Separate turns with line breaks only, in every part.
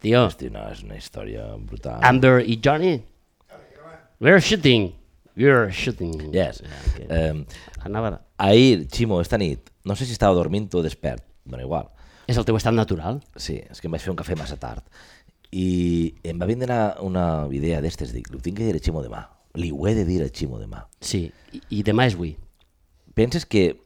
Tío,
Hosti, no, és una història brutal.
Amber y Johnny. We're shooting. We're shooting.
Yes.
Okay.
Eh,
Anava...
ahir, Ximo, esta nit, no sé si estava dormint o despert, bueno, igual.
És el teu estat natural?
Sí, és que em vaig fer un cafè massa tard. I em va vindre una, una idea d'estes, dic, li ho tinc que dir a Ximo demà. Li ho he de dir a Ximo demà.
Sí. I, i demà és avui.
Penses que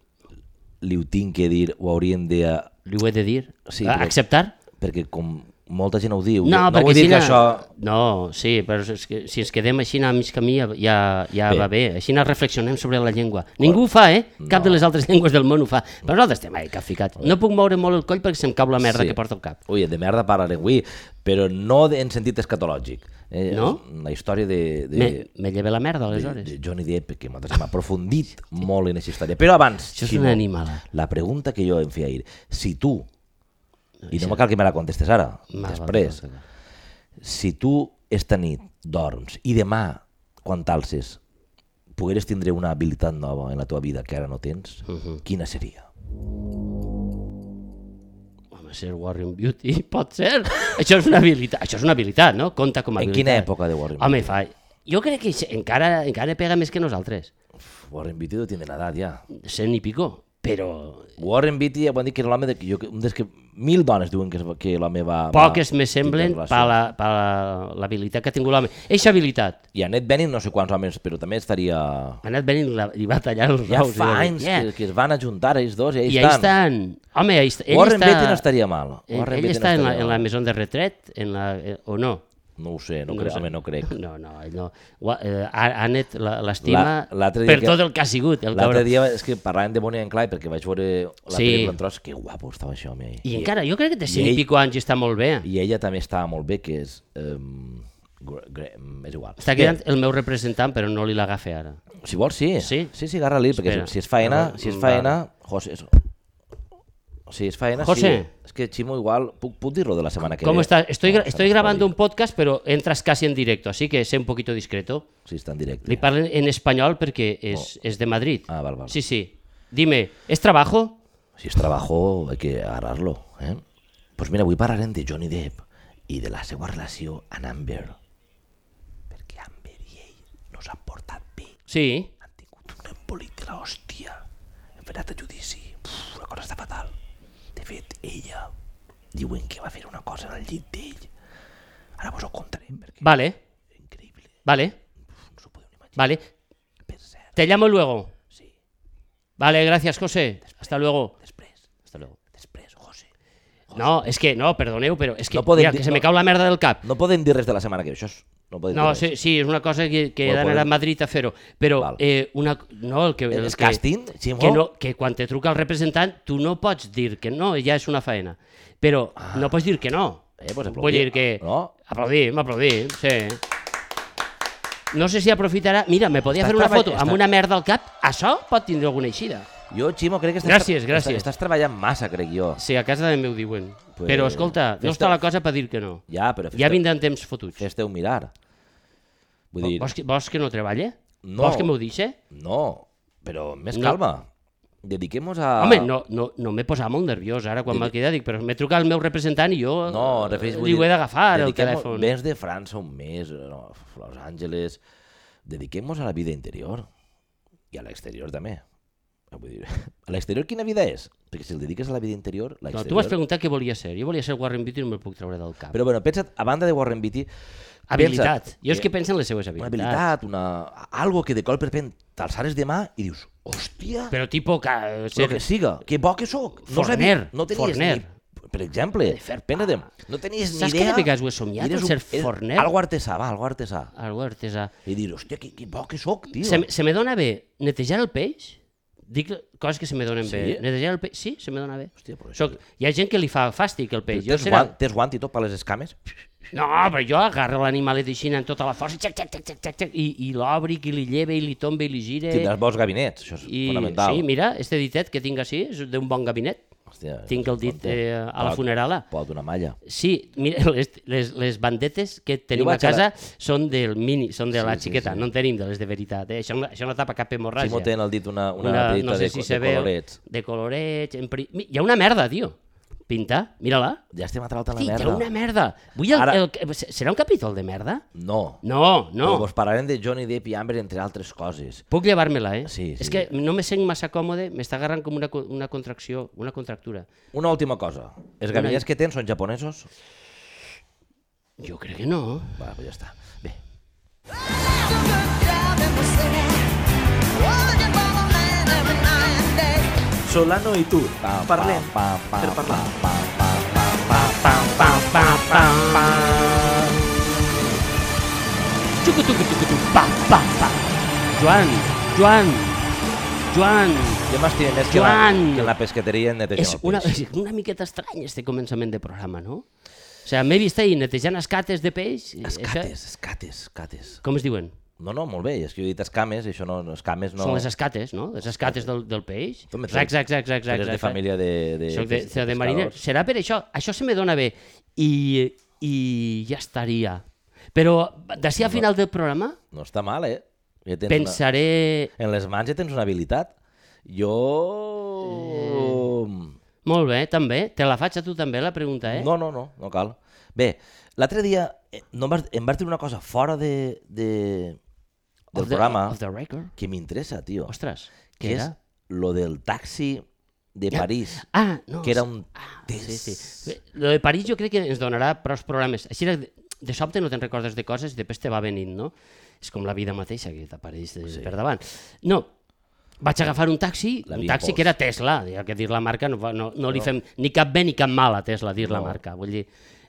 li ho tinc que dir, ho hauríem de...
Li ho he de dir?
Sí,
Ah,
però-
Acceptar?
Perquè com molta gent ho diu,
No,
no
perquè
vull dir
si
que
na-
això...
No, sí, però és que, si ens quedem així a mig camí ja, ja, ja
Bé.
va bé. Així na reflexionem sobre la llengua. Ningú ho fa, eh? Cap de les altres llengües del món ho fa. Però nosaltres estem ahí capficats. No puc moure molt el coll perquè se'm cau la merda
Sí.
que porta al cap.
Ui, de merda parlaré avui, però no de- en sentit escatològic. Eh,
No?
La història de... de...
Me, me lleve la merda,
de,
aleshores.
de Johnny Depp, que nosaltres hem aprofundit molt en aquesta història. Però abans,
Ah, Això és
Ximo,
una animalada.
la pregunta que jo em feia ahir, si tu, i no me cal que me la contestes ara,
Va, va,
després,
va, va, va.
si tu esta nit dorms i demà, quan t'alces, pogueres tindre una habilitat nova en la teva vida que ara no tens,
Uh-huh.
quina seria?
Home, ser Warrior Beauty, pot ser. Això és una habilitat, això és una habilitat, no? Compta com a
En
habilitat.
quina època de Warren
Home, fa... Jo crec que encara, encara pega més que nosaltres.
Beatty? Warren Beatty no tiene l'edat ja.
Cent i pico, però
Warren Beatty ja van dir que era l'home de... Jo, un dels que mil dones diuen que, es va- que l'home va... va
poques me semblen
tindre
per
relació.
la- per la- l'habilitat que ha tingut l'home. Eixa habilitat.
I a Ned Benning no sé quants homes, però també estaria...
Ha anat venint la, i va tallar els
Ja
raus. i
fa
va dir,
anys
"Yeah".
que, que es van ajuntar ells dos i ells
I ahí
estan.
estan. Home, ahí està, ell
Warren
està...
Beatty no estaria mal.
Ell,
Warren
ell
Beatty
està
no
en la,
estaria
en la
mal.
maison de retret, en la, eh, o no?
No ho sé, no,
No
crec,
sé.
home, no crec.
No, no, ell no. Gua- eh, Ha- Anet la- l'estima
La- l'altre dia
per
que-
tot el que ha sigut, el
L'altre
cabró.
dia és que parlàvem de Bonnie and Clyde perquè vaig veure la
Sí.
pel·lícula en tros, que guapo estava això, home.
I encara, jo crec que té 100
ell-
i pico anys i està molt bé.
I ella també estava molt bé, que és... Um, és igual.
Està quedant el meu representant, però no li l'agafe ara.
Bé, si vols, sí.
Sí?
Sí, sí, agarra-li, perquè
Espera.
si es faena... Si es
Vale.
faena... José, és... Si es faena,
José.
sí. És que Ximo igual... Puc, puc dir-lo de la setmana que
¿Cómo
ve?
estás? Estoy, gra-
No,
estoy grabando un podcast, pero entras casi en directo, así que sé un poquito discreto.
Sí, està en directe.
Le parlen en español porque es, es de Madrid.
Ah, val, val.
Sí, sí. Dime, ¿es trabajo?
Si es trabajo, hay que agarrarlo. ¿eh? Pues mira, avui parlarem de Johnny Depp i de la seva relació amb Amber. Perquè Amber i ell no s'han portat bé.
Sí.
Han tingut un embolic de la hòstia. Han fet a judici. Uf, la cosa està fatal. De fet, ella diuen que va fer una cosa en el llit d'ell. Ara vos ho contarem perquè
Vale,
és increïble.
vale,
No s'ho podeu ni imaginar.
vale.
Per cert,
Te llamo luego.
sí.
Vale, gracias, José. Hasta luego.
Després,
Hasta luego.
després, José.
No, es que, no, perdoneu, pero es que,
No podem
mira,
dir-
que se me
no.
cau la merda del cap.
No podem dir res de la setmana que ve, això és... No, podem dir
No,
res.
sí, sí, és una cosa que, que he
Bueno,
d'anar a
podem-
Madrid a fer-ho, però
Val.
eh, una, no, el que...
El
El que-
càsting, Ximo?
Que, no, que quan te truca el representant tu no pots dir que no, ja és una faena, però ah. no pots dir que no.
Eh, pues
Vull
aplaudir,
dir que...
no?
Aplaudim, aplaudim, sí. No sé si aprofitarà... Mira, me podia
Estàs
fer una
treball-
foto
estàs-
amb una merda al cap. Això pot tindre alguna eixida.
Jo, Ximo, crec que estàs,
Gràcies, gràcies.
Estàs, estàs treballant massa, crec jo.
Sí, a casa de meu diuen.
Pues-
Però, escolta, no
Fes-te-
està la cosa per dir que no.
Ja, però fes-te
Ja vindran temps fotuts.
fes un mirar. Vull dir,
Vols que, vols que no treballe?
No.
Vols que m'ho deixe?
no, però amb més
No.
calma. Dediquem-nos a...
Home, no, no, no m'he posat molt nerviós ara quan m'ha quedat, dic, però m'he trucat el meu representant i jo
No, em refereix, vull
li ho he
dir,
d'agafar, el
dediquem-nos-
telèfon.
Vens de França un mes, no, Los Angeles... Dediquem-nos a la vida interior. I a l'exterior també. Eh, Vull dir, a l'exterior quina vida és? Perquè si el dediques a la vida interior,
No,
l'exterior...
tu m'has preguntat què volia ser. Jo volia ser Warren Beatty i no me'l puc treure del cap. Però,
Però bueno, pensa't, a banda de Warren Beatty,
habilitat.
pensa't
Jo és que penso en les seues
una
habilitats.
habilitat, una... algo que de cop per pen t'alçares demà i dius, hòstia,
Però tipo que... Ser...
el que siga, que bo que sóc.
Forner,
no tenies
forner.
Ni, per exemple,
fer pa.
pensa-te, no tenies ni
Saps que
idea.
de vegades ho he somiat,
Eres
el ser forner?
Algo artesà, va, algo artesà.
Algú artesà.
I dir, hòstia, que, que bo que sóc, tio.
Se, me- se me dona bé netejar el peix? Dic coses que se me donen
Sí?
bé. Netejar el peix? Sí, se me dona bé.
Hòstia, però això...
Soc, hi ha gent que li fa fàstic el peix. Jo
Tens,
serà...
guant, tens guant i tot per les escames?
No, però jo agarro l'animalet així amb tota la força xac, xac, xac, xac, xac, xac, i, i l'obric i li lleve i li tombe i li gire.
Tindràs bons gabinets, això és
I,
fonamental.
sí, mira, este ditet que tinc així és d'un bon gabinet.
Hòstia,
Tinc el dit eh, a la funerala.
Pot una malla.
Sí, mira, les, les, les bandetes que tenim a
vaig a la-
casa són del mini, són de
Sí,
la
sí,
xiqueta,
sí.
no en tenim de les de veritat. Eh? Això, no, això no tapa cap hemorràgia.
Ximo té en el dit una, una,
Una-
pedrita de, co- de colorets.
de colorets. En pri... Mi- Hi ha una merda, tio. Pinta, mira-la.
Ja estem a trauta la
Filla,
merda.
una merda. Vull el,
Ara-
el, serà un capítol de merda?
No.
No, no.
Però us parlarem de Johnny Depp i Amber, entre altres coses.
Puc llevar-me-la, eh?
Sí, sí.
És que no me sent massa còmode, m'està agarrant com una, co- una contracció, una contractura.
Una última cosa. Els
Una-
gavellets que tens són japonesos?
Jo crec que no.
Va, pues ja està. Bé.
Solano i tu,
Pam,
parlem
pam, pam,
per parlar.
pam, pam, pam, pam, pam, pam, pam, pam, pam.
Xucu, tucu, tucu, tucu, pam, pam, pam. Joan, Joan, Joan,
Jo m'estimo més que, la,
Joan!
que en la pesqueteria en netejant
és
el pis.
una, és una miqueta estrany este començament de programa, no? O sigui, m'he vist ahir netejant escates de peix. i això-
Escates, escates, escates.
Com es diuen?
No, no, molt bé, és que jo he dit escames, i això no, no escames no...
Són les escates, no? Les escates del, del peix.
Tu me
Rac, rac, rac, rac, rac,
Tu eres
rac,
de
rac.
família de... de,
Soc de,
pes-
de, de mariner.
pescadors.
Serà per això. Això se me dona bé. I, i ja estaria. Però d'ací a final del programa
No està mal, eh? Ja tens
pensaré...
Una... En les mans ja tens una habilitat. Jo...
Eh. Molt bé, també. Te la faig a tu també, la pregunta, eh?
No, no, no, no cal. Bé, l'altre dia eh, no em, vas, em vas dir una cosa fora de, de, del
Of the-
programa
Of the record.
que m'interessa, tio.
Ostres,
que
què
és
era?
lo del taxi de París,
Ah, no.
que era un
Ah,
test.
sí, sí. Bé, Lo de París jo crec que ens donarà prou programes. Així de, de sobte no te'n recordes de coses i després te va venint, no? És com la vida mateixa, que t'apareix de- per davant. No, vaig agafar un taxi,
La
un
Big
taxi
Boss.
que era Tesla, ja que dir la marca no, fa- no, no li fem ni cap bé ni cap mal a Tesla dir la marca, vull dir...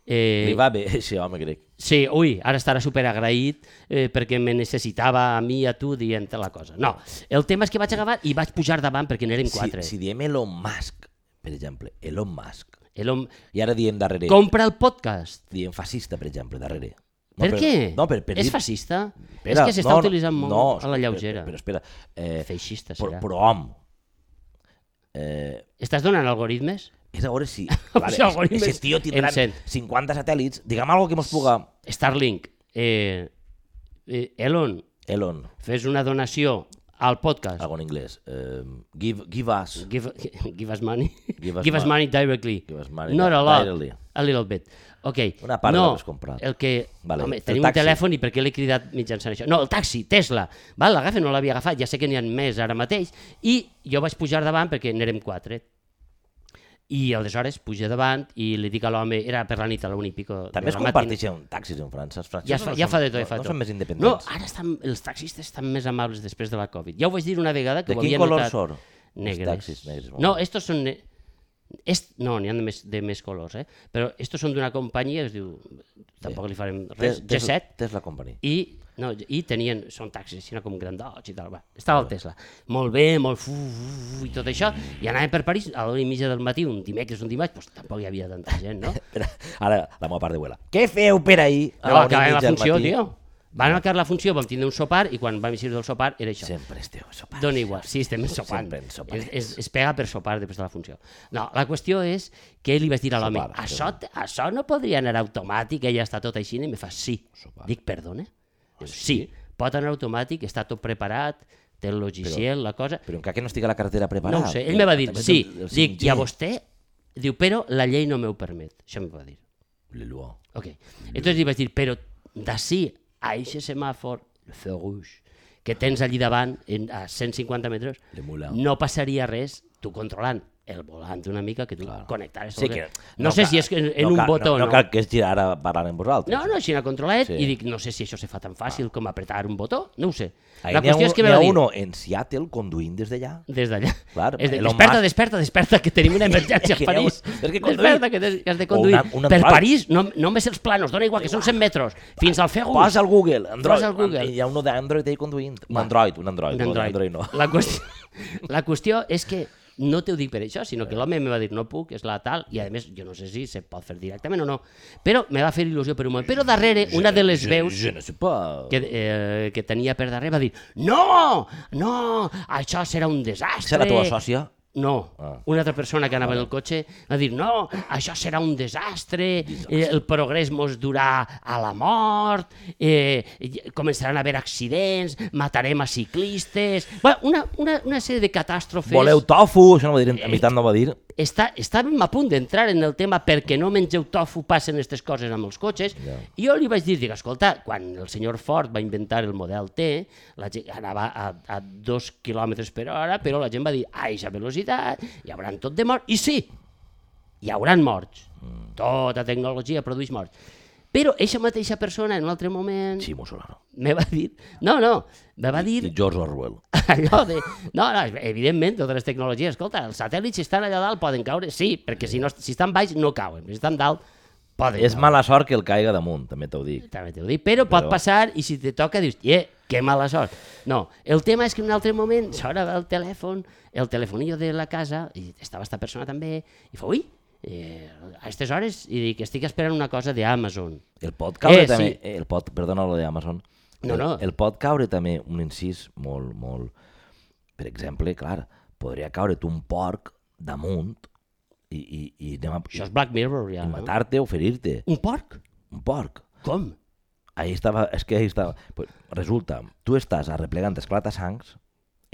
Eh,
Li va bé, sí, home, crec.
Sí, ui, ara estarà superagraït eh, perquè me necessitava a mi i a tu dient la cosa. No, el tema és que vaig agafar i vaig pujar davant perquè n'érem quatre.
Si, si diem Elon Musk, per exemple, Elon Musk,
El hom...
i ara diem darrere,
Compra el podcast.
diem fascista, per exemple, darrere.
per, què?
No, per, per
és
dir-
fascista? és
Espera,
que s'està
no, no,
utilitzant molt
no,
a la
espera,
lleugera.
Però, però espera, eh,
Feixista
pro,
serà.
però hom, eh,
Estàs donant algoritmes?
és a veure si...
Si algoritme
ese
és-
tio tindrà
encén.
50 satèl·lits, digue'm alguna que mos puga...
Starlink, eh, eh, Elon,
Elon,
fes una donació al podcast.
algo en anglès. Eh, give, give us...
Give, give us money.
Give us mon-
money directly.
Give us money
Not a lot.
directly.
A little bit. Ok.
Una part de
no,
lo que has comprat.
El que... Vale,
Vale,
Home,
el
tenim un
taxi.
telèfon i per què l'he cridat mitjançant això? No, el taxi, Tesla. Val, l'agafa, no l'havia agafat, ja sé que n'hi ha més ara mateix. I jo vaig pujar davant perquè n'érem quatre. I aleshores puja davant i li dic a l'home, era per la nit a la una i pico. de
També es
la matina.
comparteixen taxis en França. Els francesos
Ja, es fa,
no
ja
són-
fa de tot, ja
no,
fa de
no
tot.
són més independents.
No, ara estan, els taxistes estan més amables després de la Covid. Ja ho vaig dir una vegada que ho
de quin
havia
color
notat.
són?
Negres.
Els taxis negres. molt
No,
bé.
estos són... ne- Est... No, n'hi ha de més, de més colors, eh? Però estos són d'una companyia que es diu... Tampoc li farem res.
Tes- Tesla-
G7.
Tesla Company.
I, no, i tenien, són taxis, sinó com grandots i tal. Va, estava el Tesla. Molt bé, molt fu, fu, fu, i tot això. I anàvem per París a l'hora i mitja del matí, un dimecres, un dimarts, doncs tampoc hi havia tanta gent, no?
Espera, ara la meva part de vuela. Què feu per ahir?
No Ah, va acabar la funció, tio. Van acabar la funció, vam tindre un sopar, i quan vam sortir del sopar era això.
Sempre esteu sopant.
Dona igual, sí, estem sopant.
Sempre en soparem.
Es, es, es pega per sopar després de la funció. No, la qüestió és que li vaig dir a l'home,
Sopar,
això, t- això no podria anar automàtic, ja està tot així, i em fa sí.
Sopar. Ah,
Dic, perdona? Diu, sí, pot anar automàtic, està tot preparat, té el logiciel, la cosa...
Però encara que no estigui la carretera preparada.
No ho sé, ell me va dir,
També
sí,
és el- el
dic,
5G.
i a vostè? Diu, però la llei no m'ho permet. Això em va dir.
Lilua.
Ok. Entonces li vaig dir, però d'ací a aquest semàfor, el feu rouge, que tens allí davant, en, a 150 metres,
Le moulin.
no passaria res tu controlant el volant una mica que tu Clar. connectares.
Sí
el
que,
no, no sé
cal-
si és en, en
no
un
cal-
botó
no, no. cal que es gira ara parlant amb vosaltres.
no, no, així n'ha controlat sí.
Sí.
i dic, no sé si això se fa tan fàcil com apretar un botó, no ho sé.
Ahí
la
n'hi ha
qüestió
un-
és que
n'hi
me va
ha
dir,
uno en Seattle conduint des d'allà.
des d'allà.
Clar,
és de,
Elon
desperta,
Musk-
desperta, desperta, que tenim una emergència
Que
a París.
llavors, és que conduir-
desperta, que, tens- que has de
O
conduir.
una- una
per
entrada.
París, no, només els planos, dona igual, que són 100 metres, fins al Fegus.
Posa al Google. Android.
al Google.
Hi ha uno d'Android ahí conduint. Un Android, un Android.
un
no,
Android.
Android no.
La, qüestió, la qüestió és que no t'ho dic per això, sinó que l'home em va dir no puc, és la tal, i a més jo no sé si se pot fer directament o no, però me va fer il·lusió per un moment. Però darrere, una de les veus
Je ne sais pas.
que, eh, que tenia per darrere va dir no, no, això serà un desastre.
Serà la teva sòcia?
No,
Ah.
una altra persona que anava en el cotxe va dir no, això serà un desastre, eh, el progrés mos durà a la mort, eh, i- començaran a haver accidents, matarem a ciclistes... Bueno, una, una, una sèrie de catàstrofes... Eh,
Voleu tofu? Això no va dir, en en veritat no va dir.
està, estàvem a punt d'entrar en el tema perquè no mengeu tofu, passen aquestes coses amb els cotxes,
Ja.
i jo li vaig dir, dic, escolta, quan el senyor Ford va inventar el model T, la gent anava a, a dos quilòmetres per hora, però la gent va dir, a aquesta velocitat, hi haurà tot de mort, i sí, hi hauran morts. Mm. Tota tecnologia produeix morts. Però eixa mateixa persona, en un altre moment,
Ximo Solano.
me va dir... No, no, me va dir
I George Orwell.
allò de... No, no, evidentment, totes les tecnologies, escolta, els satèl·lits si estan allà dalt poden caure, sí, perquè si, no, si estan baix no cauen, si estan dalt poden
És
caure.
mala sort que el caiga damunt, també t'ho dic.
També t'ho dic, però, pot
Però-
passar i si te toca dius, yeah, que mala sort. No, el tema és que en un altre moment s'hora del telèfon, el telefonillo de la casa, i estava esta persona també, i fa, ui, eh, a aquestes hores, i dic, estic esperant una cosa d'Amazon.
El pot caure
Eh,
eh, també...
sí.
Sí. El pot, perdona lo d'Amazon.
No,
El-
no.
El pot caure també un incís molt, molt... Per exemple, clar, podria caure't un porc damunt i, i, i anem a...
Això és Black Mirror, ja,
i
no?
matar-te o ferir-te.
Un porc?
Un porc.
Com?
Ahí estava, és que ahí estava... Pues, resulta, tu estàs arreplegant esclatasangs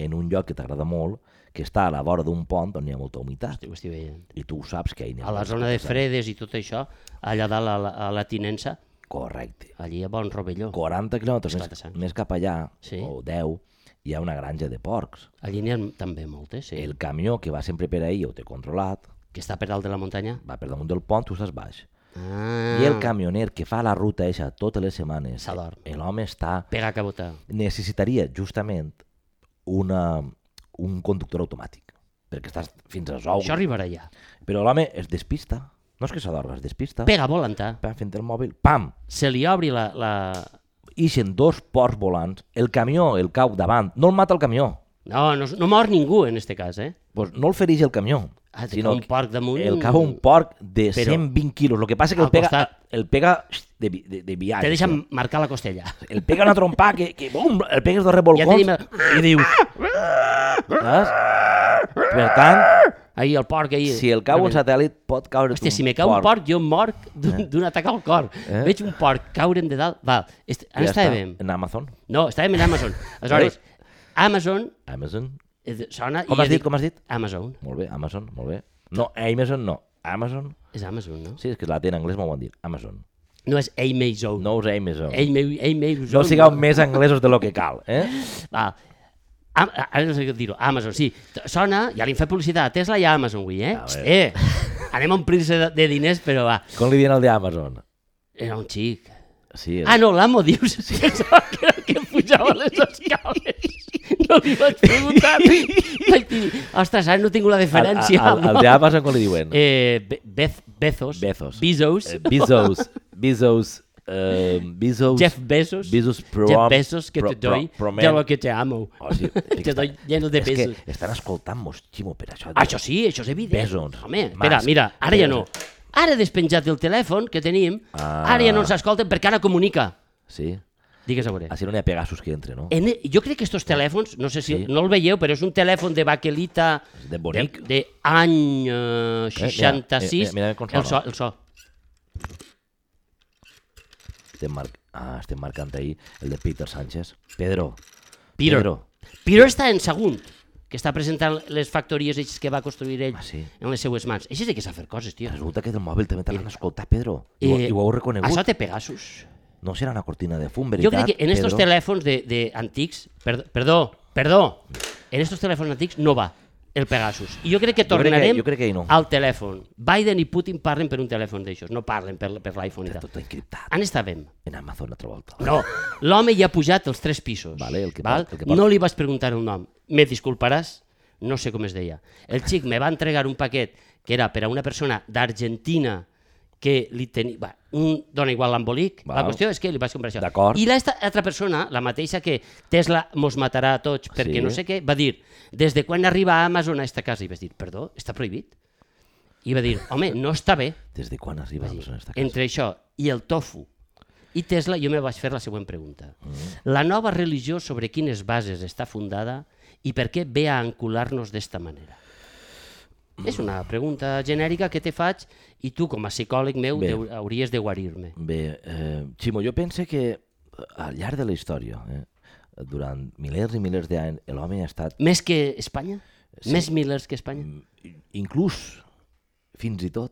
en un lloc que t'agrada molt, que està a la vora d'un pont on hi ha molta humitat.
Hosti, ho estic veient.
I tu saps que ahí n'hi ha...
A la
molts
zona de
esclatasangs.
Fredes i tot això, allà dalt a la, a la Tinença,
Correcte.
allí a Bon Rovelló.
40 quilòmetres més,
Esclatasangs.
més cap allà,
Sí.
o 10, hi ha una granja de porcs.
Allí n'hi ha també moltes, sí. El...
El camió que va sempre per ahir, ho té controlat,
Que està per dalt de la muntanya.
va per damunt del pont, tu estàs baix.
Ah,
I el camioner que fa la ruta eixa totes les setmanes,
S'adorm.
eh, l'home està...
Pega cabota.
Necessitaria justament una, un conductor automàtic, perquè estàs fins als ous.
Això arribarà ja.
Però l'home es despista. No és que s'adorm, es despista.
Pega volantar.
Pam, fent el mòbil, pam!
Se li obri la... la...
Ixen dos porcs volants, el camió el cau davant, no el mata el camió,
No, no, no mor ningú en este cas, eh?
pues no el fereix el camió,
Ah, te
sinó
cau un porc damunt.
el cava un porc de
Però-
120 quilos. El que passa que el
Al
pega,
costat.
el pega de, vi- de, de viatge.
Te deixa marcar la costella.
El pega una trompa que, que bum, el pegues dos
Ja tenim...
revolcons
El...
i dius... Saps? Per tant,
Ahir el porc, ahir...
si el cau un satèl·lit pot caure
Hòstia, si me cau un porc, jo mor d'un d'un atac al cor.
Eh?
Veig un porc caure'm de dalt... Va, est... ara estàvem...
En Amazon.
No, estàvem en Amazon. Aleshores, Amazon
Amazon.
eh, sona...
Com
i
has
jo
dit,
dic,
com has dit?
Amazon.
Molt bé, Amazon, molt bé. No, Amazon no. Amazon.
És Amazon, no?
Sí, és que la té en anglès m'ho van dir. Amazon.
No és Amazon.
No us Amazon.
Amazon.
No sigueu més anglesos de lo que cal, eh?
Va. Am ara no sé què dir-ho. Amazon, sí. T- Sona, ja li hem fet publicitat a Tesla i a Amazon avui, eh?
A veure.
Eh, anem a omplir-se de, de diners, però va.
Com li diuen el d'Amazon?
Era un xic.
Sí, el-
Ah, no, l'amo, dius? Sí. Pensava que era el que pujava les escales. No li vaig preguntar. vaig dir, ostres, ara no tinc la diferència.
Al, al, al de Amazon com li diuen?
Eh, Be- Beth, Bezos.
Bezos.
Bezos.
Eh, Bezos. Bezos. eh, Bezos.
Jeff Bezos.
Bezos Prom.
Jeff Bezos, que
Pro-
te doy
Pro- Promen- Oh,
de lo que te amo.
O sigui,
te
està-
doy lleno de Ah,
és
besos.
que estan escoltant-nos, Ximo, per això.
Això sí, això és evident.
Bezos,
Home,
Musk,
espera, mira, ara ja no.
Bezos.
Ara he despenjat el telèfon que tenim,
Ah.
ara ja no ens escolten perquè ara comunica.
Sí.
Digues a veure.
Així no n'hi ha Pegasus que entre, no?
En, e- jo crec que estos telèfons, no sé si
Sí.
no el veieu, però és un telèfon de baquelita
De bonic.
de, de any eh, 66.
eh, mira, mira com sona.
el so, el so.
Estem, mar... ah, estem marcant ahir el de Peter Sánchez. Pedro.
Peter.
Pedro.
Peter està en segon, que està presentant les factories eixes que va construir ell
Ah, sí?
en les seues mans. Això sí que sap fer coses, tio.
Resulta que del mòbil també te l'han escoltat, Pedro. I, ho,
Eh,
I ho heu reconegut.
Això té Pegasus.
No serà una cortina de fum, veritat,
Jo crec que en estos
Pedro?
telèfons de, de antics, perdó, perdó, perdó, en estos telèfons antics no va el Pegasus. I jo crec que
Jo crec que-
tornarem
jo crec que ahí no.
al telèfon. Biden i Putin parlen per un telèfon d'aixòs, no parlen per, per l'iPhone i
Tot
tal.
encriptat.
En estàvem.
En Amazon, altra volta.
No, l'home ja ha pujat els tres pisos.
Vale, el que
val?
porta- el que porta.
No li vas preguntar el nom. Me disculparàs? No sé com es deia. El xic me va entregar un paquet que era per a una persona d'Argentina que li tenia... Va, un, dona igual l'embolic. La
Val.
qüestió és que li vaig comprar això.
D'acord.
I l'altra persona, la mateixa que Tesla mos matarà a tots perquè
Sí.
no sé què, va dir, des de quan arriba a Amazon a esta casa? I vaig dir, perdó, està prohibit? I va dir, home, no està bé.
Des de quan arriba
Sí.
Amazon a esta casa?
Entre això i el tofu i Tesla, jo me vaig fer la següent pregunta.
Mm.
La nova religió sobre quines bases està fundada i per què ve a ancular-nos d'esta manera? És una pregunta genèrica que te faig i tu, com a psicòleg meu,
Bé.
deu- hauries de guarir-me.
Bé, eh, Ximo, jo pense que al llarg de la història, eh, durant milers i milers d'anys, l'home ha estat
Més que Espanya?
Sí.
Més milers que Espanya?
mm, inclús fins i tot,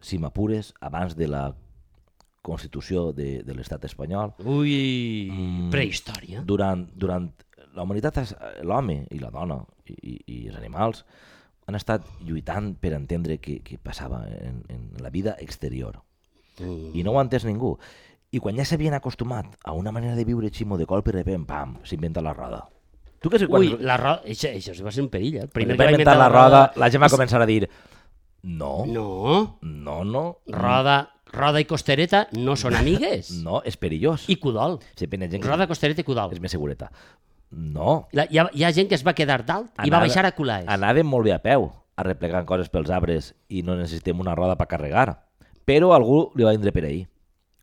si m'apures, abans de la Constitució de, de l'estat espanyol,
Ui,
Mm.
prehistòria.
durant, durant la humanitat, es- l'home i la dona i, i, i els animals han estat lluitant per entendre què, què passava en, en la vida exterior.
Mm.
I no ho ha entès ningú. I quan ja s'havien acostumat a una manera de viure ximo de colp i de pam, pam, s'inventa la roda. Tu què sé, quan,
Ui, la roda... Això, això va ser un perill, eh?
primer
Primer
va
que va
inventar la roda, la gent va començar a dir no,
No,
no, no,
roda, roda i costereta no són amigues.
no, és perillós.
I Cudol.
Sempre hi ha gent que
Roda, costereta i Cudol.
és més segureta. No.
La, hi, ha, hi ha gent que es va quedar dalt i va
Anava-
baixar a Culaes.
Anàvem molt bé a peu, arreplegant coses pels arbres i no necessitem una roda per carregar. Però algú li va vindre per ahir.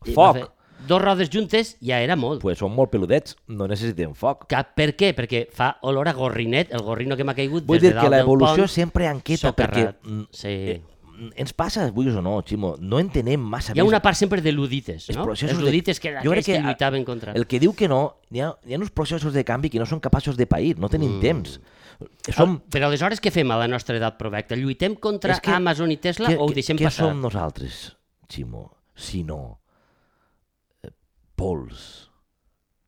I va
Foc!
fer Dos rodes juntes ja era molt.
Pues són molt peludets, no necessitem foc.
Cap, per què? Perquè fa olor a gorrinet, el gorrino que m'ha caigut
Vull
des
dir
de
que
dalt del
l'evolució
pont.
sempre enqueta, perquè
socarrat.
mm,
Sí.
eh, mm, ens passa, vulguis o no, Ximo, no entenem massa
Hi ha
més
una part sempre de ludites,
els
no?
processos
Els
de-
ludites que era
Jo crec
aquells que,
que,
lluitaven contra...
El que diu que no, hi ha, hi ha uns processos de canvi que no són capaços de pair, no tenim
Mm.
temps. Som,
Ah, Però aleshores què fem a la nostra edat provecta? Lluitem contra
És que-
Amazon i Tesla o ho deixem
què
passar?
som nosaltres, Ximo, si no eh, pols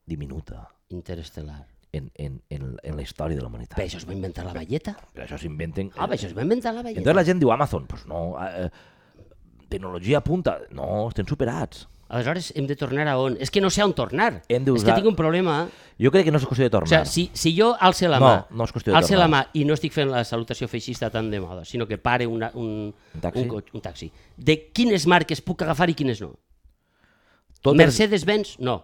diminuta
Interestel·lar.
en, en, en, en la història de la humanitat?
Però això es va inventar la velleta?
Però això s'inventen...
Ah, però això es va inventar la velleta.
Entonces la gent diu "Ah, Amazon, pues no, eh, eh, tecnologia punta, no, estem superats.
Aleshores hem de tornar a on? És que no sé on tornar.
Hem d'usar-
És que tinc un problema.
Jo crec que no és qüestió de
O
tornar.
sigui, si, si jo alce la
No,
mà,
no és qüestió de
alce la mà
tornar.
i no estic fent la salutació feixista tan de moda, sinó que pare una, un,
Un taxi?
Un, cotxe, un taxi. De quines marques puc agafar i quines no?
Tot és-
Mercedes-Benz, no.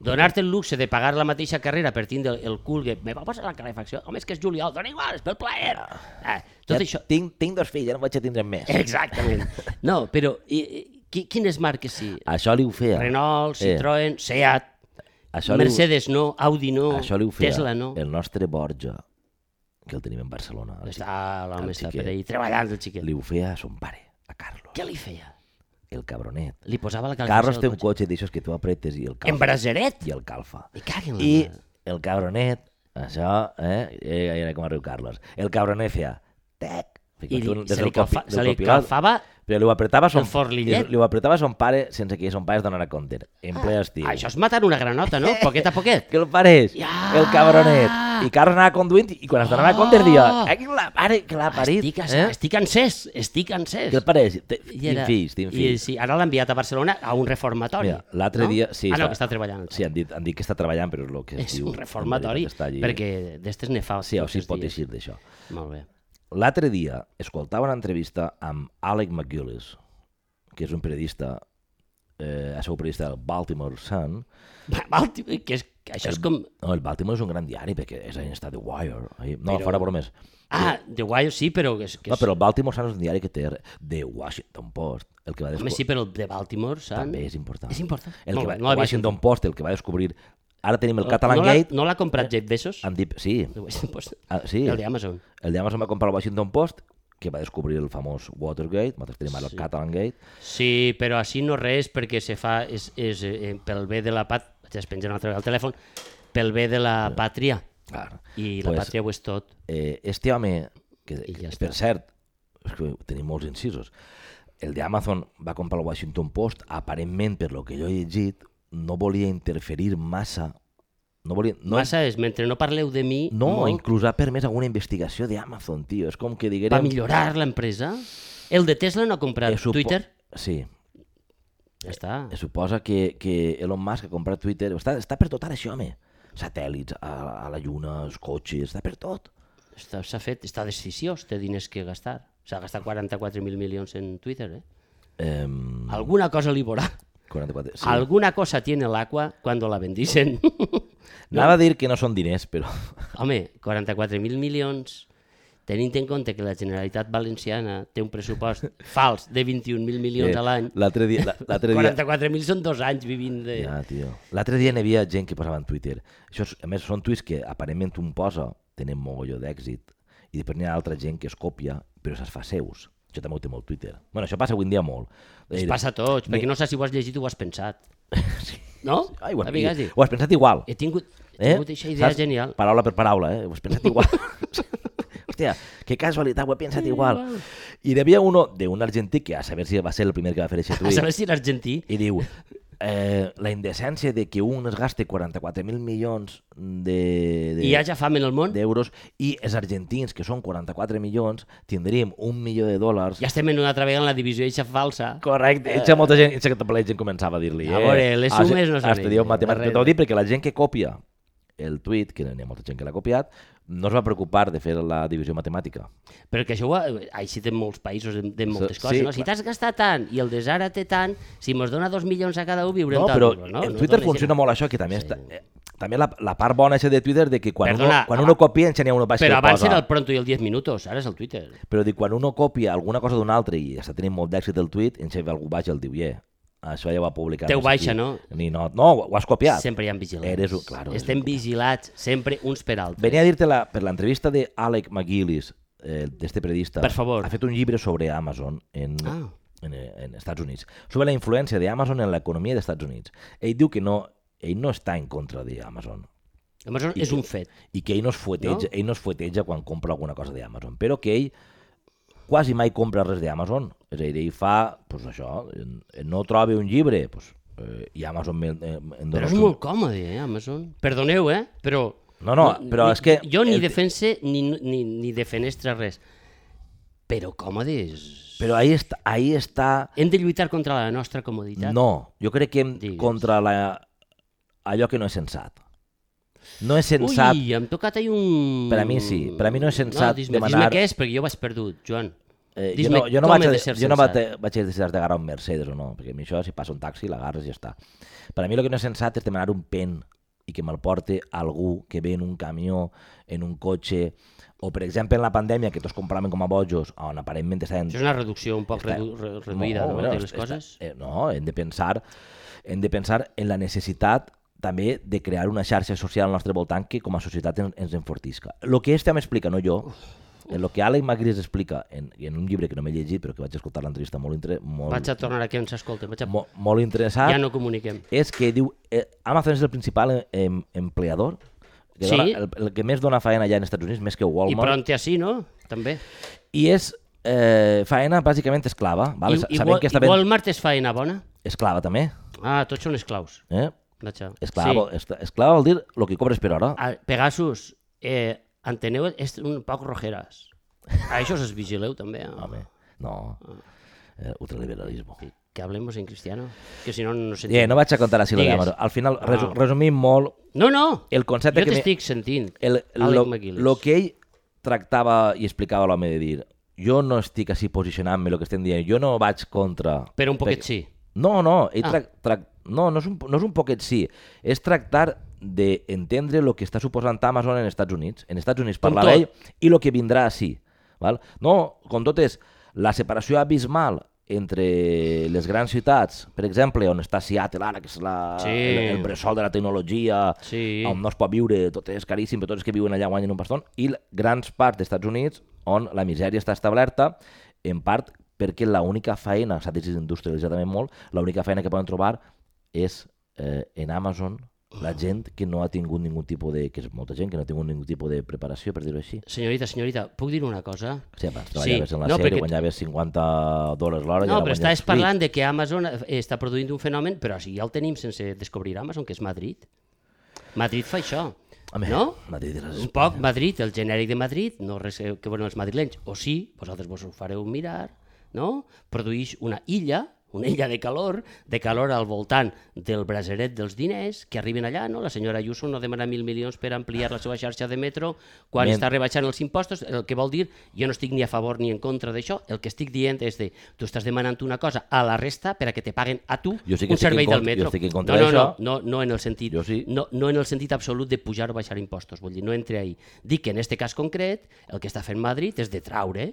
Donar-te el luxe de pagar la mateixa carrera per tindre el, el cul que me va posar la calefacció. Home, és que és juliol, dona igual, és pel plaer. Ah, tot
ja
això. Eh,
Tinc, tinc dos fills, ja no vaig a tindre més.
Exactament. No, però i, i, qui- quines marques sí?
Això li ho feia.
Renault,
Ah, Eh.
Citroën, Seat,
Això li ho-
Mercedes no, Audi no,
Això li ho feia
Tesla no.
el nostre Borja, que el tenim en Barcelona. El
Està, l'home
el
està
xiquet.
per ahir treballant, el
xic-
xiquet.
Li ho feia a son pare, a Carlos,
Què li feia?
el cabronet.
Li posava la
Carlos
calefacció
té un
del cotxe.
cotxe d'aixòs que tu apretes i el
En
calfa.
braseret?
I el calfa.
Me caguen la
I
mare.
el cabronet, això, eh, eh, ja era com arriu Carlos, el cabronet feia tec,
I
ficat un-
li,
des
se
del
li, calfa,
copi-
se
del
li
copilot,
calfava...
però li ho apretava son,
el forlillet.
Li ho apretava son pare sense que son pare es donara compte. En ple estiu.
Ah, això és matant una granota, no? Poquet a poquet.
que el pare és,
Ja!
el cabronet. I Carlos anava conduint i quan es donava
Ah!
compte es dia, aquí la mare que l'ha parit.
Estic,
eh?
estic encès, estic encès.
Que el pare és, "Té-
I
tinc fills, tinc
I,
fills.
sí, ara l'ha enviat a Barcelona a un reformatori.
Mira, l'altre
no?
dia... Sí,
ah, no, que està treballant.
Sí, han dit, han dit que està treballant, però és el que es
és
diu...
un reformatori,
en veritat, està allí.
perquè d'estes nefastes.
Sí, o sí, pot eixir d'això.
Molt bé.
L'altre dia escoltava una entrevista amb Alec McGillis, que és un periodista, eh, ha sigut periodista del Baltimore Sun.
Val, tio, que és, que això és com...
No, el Baltimore és un gran diari, perquè és on està The Wire. ahí- No,
Però-
fora bromes.
Ah, The Wire sí, però... Que és, que
No,
és...
però el Baltimore Sun és un diari que té The Washington Post. El que va
Home,
descobrir...
sí, però el de Baltimore, saps?
També és important.
És important.
Doncs, El
Molt
que va...
bé, no l'havia
Washington Post, el que va descobrir... Ara tenim el
No-
Catalan
no l'ha-
Gate.
No l'ha comprat Jeff Bezos?
Amb dip... Sí,
The Washington Post.
Eh, ah, sí.
El d'Amazon.
El d'Amazon va comprar el Washington Post, que va descobrir el famós Watergate, nosaltres tenim ara el Catalan Gate.
Sí, però així no res perquè se fa és, és, eh, pel bé de la pat... Ja es penja una altra vegada el telèfon. Pel bé de la pàtria.
Clar.
I la
Eh. Pues-
pàtria ho és tot.
Eh, este home, que,
I ja
que
està.
per cert, és que tenim molts incisos, el d'Amazon va comprar el Washington Post, aparentment, per lo que jo he llegit, no volia interferir massa no, volia,
No.
no,
Massa és, mentre no parleu de mi,
no
molt,
inclús ha permès alguna investigació d'Amazon, tio. És com que diguérem...
va millorar l'empresa. El de Tesla no ha comprat
Eh, supo- eh,
Twitter.
Sí,
Ja està.
Es suposa que, que Elon Musk ha comprat Twitter. Està, està per tot ara això, home. Satèl·lits, a, a la lluna, els cotxes, està per tot.
Està- S'ha fet, està desficiós, té diners que gastar. S'ha gastat 44.000 milions en Twitter, eh?
Em,
Alguna cosa li vorà.
44, sí. Al...
Alguna cosa tiene el agua cuando la bendicen.
Anava a dir que no són diners, però...
Home, 44.000 milions, tenint en compte que la Generalitat Valenciana té un pressupost fals de 21.000 milions a l'any,
Eh, L'altre dia... la- L'altre dia...
44.000 són dos anys vivint de...
Ja, tio. L'altre dia n'hi havia gent que posava en Twitter. Això és, a més, són tuits que aparentment un posa, tenen mogolló d'èxit, i després n'hi ha altra gent que es copia, però se'ls fa seus. Això també ho té molt Twitter. Bueno, això passa avui en dia molt. Eh,
Es passa a tots, perquè no saps si ho has llegit o ho has pensat. No?
Ai, ho,
A
has,
vegades dic,
ho has pensat igual. eh?
He tingut, he tingut eh? idea genial.
Paraula per paraula, eh? Ho has pensat igual. Hosti, hostia, qué casualidad, ho he pensat igual. I n'hi havia uno d'un argentí, que a saber si va ser el primer que va fer aquest
A
tuit,
saber si era argentí.
i diu, eh, la indecència de que un es gaste 44.000 milions de, de,
I hi ha ja fam en el món?
d'euros i els argentins, que són 44 milions, tindríem un milió de dòlars.
Ja estem en una altra vegada en la divisió eixa falsa.
Correcte. Eh... molta gent, que la gent començava a dir-li. eh,
A veure, les sumes no són
Estudieu
res,
matemàtiques.
res.
T'ho dic perquè la gent que copia el tuit, que n'hi ha molta gent que l'ha copiat, no es va preocupar de fer la divisió matemàtica.
Però que això ho, ha- així té molts països, en- té moltes
Sí,
coses.
sí,
no? Si
clar.
t'has gastat tant i el desara té tant, si mos dona dos milions a cada un, viurem
No,
tot.
però
no?
en
No
Twitter
dona
funciona
gent.
molt això, que també està... eh, També la, la part bona és de Twitter de que quan,
Perdona,
uno, quan
abans-
uno copia en Xenia uno baixa
Però
i ho
abans
posa.
era el pronto i el 10 minutos, ara és el Twitter.
Però dic, quan uno copia alguna cosa d'un altre i està tenint molt d'èxit el tuit, en Xavi algú baixa el diu, yeah, això ja ho ha publicat.
Teu
no sé
baixa,
qui".
no?
Ni no, no, ho has copiat.
Sempre hi ha vigilants.
Eres un- claro, eres
Estem
un-
vigilats sempre uns per altres.
Venia a dir-te la, per l'entrevista d'Alec McGillis, eh, d'este periodista.
Per favor.
Ha fet un llibre sobre Amazon en,
Ah.
en, eh, en Estats Units, sobre la influència d'Amazon en l'economia dels Estats Units. Ell diu que no, ell no està en contra d'Amazon
Amazon és un fet.
i que ell no es fueteja,
No?
no? ell no es fueteja quan compra alguna cosa d'Amazon, però que ell quasi mai compra res d'Amazon. És a dir, ell fa, doncs això, eh, no trobi un llibre, doncs, eh, i Amazon me'l- eh, em
Però
dona
és
un-
molt còmode, eh, Amazon. Perdoneu, eh, però...
No, no, però és que
Jo ni
el-
defense ni, ni, ni defenestre res. Però còmode és...
Però ahí està, ahí està
Hem de lluitar contra la nostra comoditat.
No, jo crec que hem
Digues.
contra la, allò que no és sensat. No és
Ui,
sensat, Ui.
em tocat ahí un...
Per a mi sí, per a mi no és sensat
no, dis-me,
demanar-
Dis-me què és, perquè jo vaig perdut, Joan.
Eh, jo,
dis-me
no, jo no
com
vaig,
he
a,
de ser
jo no vaig,
sensat.
a, vaig a dir si has d'agarrar un Mercedes o no, perquè a mi això, si passa un taxi, l'agarres i ja està. Per a mi el que no és sensat és demanar un pen i que me'l porte algú que ve en un camió, en un cotxe, o per exemple en la pandèmia, que tots compraven com a bojos, on aparentment estaven
Això és una reducció un poc redu re- reduïda, no,
bueno,
de les
està-
coses.
eh, no, hem de pensar hem de pensar en la necessitat també de crear una xarxa social al nostre voltant que com a societat en, ens enfortisca. El que este home explica, no jo, el que Alec Magris explica en, en un llibre que no m'he llegit però que vaig escoltar l'entrevista molt, inter, molt,
Vaig a tornar aquí on s'escolten. Vaig a...
mo, molt interessat,
Ja no comuniquem.
és que diu eh, Amazon és el principal eh, em, empleador que
Sí.
dona, el, el, que més dona faena allà en Estats Units, més que
I
Walmart,
pronti així, no? També.
i és eh, faena bàsicament esclava. Vale?
I,
Sa-
i,
Sabem
Wal-
que està
I
ben...
Walmart és faena bona?
Esclava també,
Ah, tots són esclaus.
eh?
Vaig a...
Esclava, sí. esclava vol dir el que cobres per hora.
A Pegasus, eh, enteneu, és un poc rojeras. A això us vigileu també. Eh?
Home, no. Eh, ultraliberalisme.
Que- Que hablemos en cristiano, que si no no sentim.
Yeah, no vaig a contar així la
Digues.
D'Amaro. Al final, resu
Ah.
resumim molt
no, no,
el concepte
jo
Eh, que... Eh,
t'estic sentint,
El,
Alec
lo,
McGillis.
lo que ell tractava i explicava l'home de dir jo no estic així posicionant-me el que estem dient, jo no vaig contra...
però un poquet sí.
No, no, ell
Ah.
tra tra no, no és, un, no és un poquet sí, és tractar d'entendre el que està suposant Amazon en Estats Units. En Estats Units
Com
parlava
tot.
ell i el que vindrà així. Val? No, com tot és, la separació abismal entre les grans ciutats, per exemple, on està Seattle ara, que és la,
Sí.
el, el bressol de la tecnologia,
Sí.
on no es pot viure, tot és caríssim, però tots els que viuen allà guanyen un paston, i l- grans parts d'Estats Units on la misèria està establerta, en part perquè l'única feina, s'ha dit industrialitzadament molt, l'única feina que poden trobar és eh, en Amazon la gent que no ha tingut ningú tipus de... que és molta gent que no ha tingut ningú tipus de preparació, per dir-ho així.
Senyorita, senyorita, puc dir una cosa?
Si abans treballaves sí. en la
no,
no, sèrie,
perquè-
guanyaves 50 dòlars l'hora... i
No,
ara
però
guanyes
estàs
8.
parlant de que Amazon eh, està produint un fenomen, però si ja el tenim sense descobrir Amazon, que és Madrid. Madrid fa això,
Home,
no?
Madrid eh? és
Un poc Madrid, el genèric de Madrid, no res que que veuen els madrilenys, o sí, vosaltres vos ho fareu mirar, no? Produeix una illa, una illa de calor, de calor al voltant del braseret dels diners que arriben allà, no? La senyora Ayuso no demana mil milions per ampliar la seva xarxa de metro quan
Men-
està rebaixant els impostos, el que vol dir, jo no estic ni a favor ni en contra d'això, el que estic dient és de, tu estàs demanant una cosa a la resta per a que te paguen a tu
Jo sí que
un
estic en
servei del
contra-
metro.
jo estic en contra
no, no,
d'això.
no, no, no en el sentit,
Jo sí.
no, no en el sentit absolut de pujar o baixar impostos, vull dir, no entre ahí. Dic que en este cas concret, el que està fent Madrid és de traure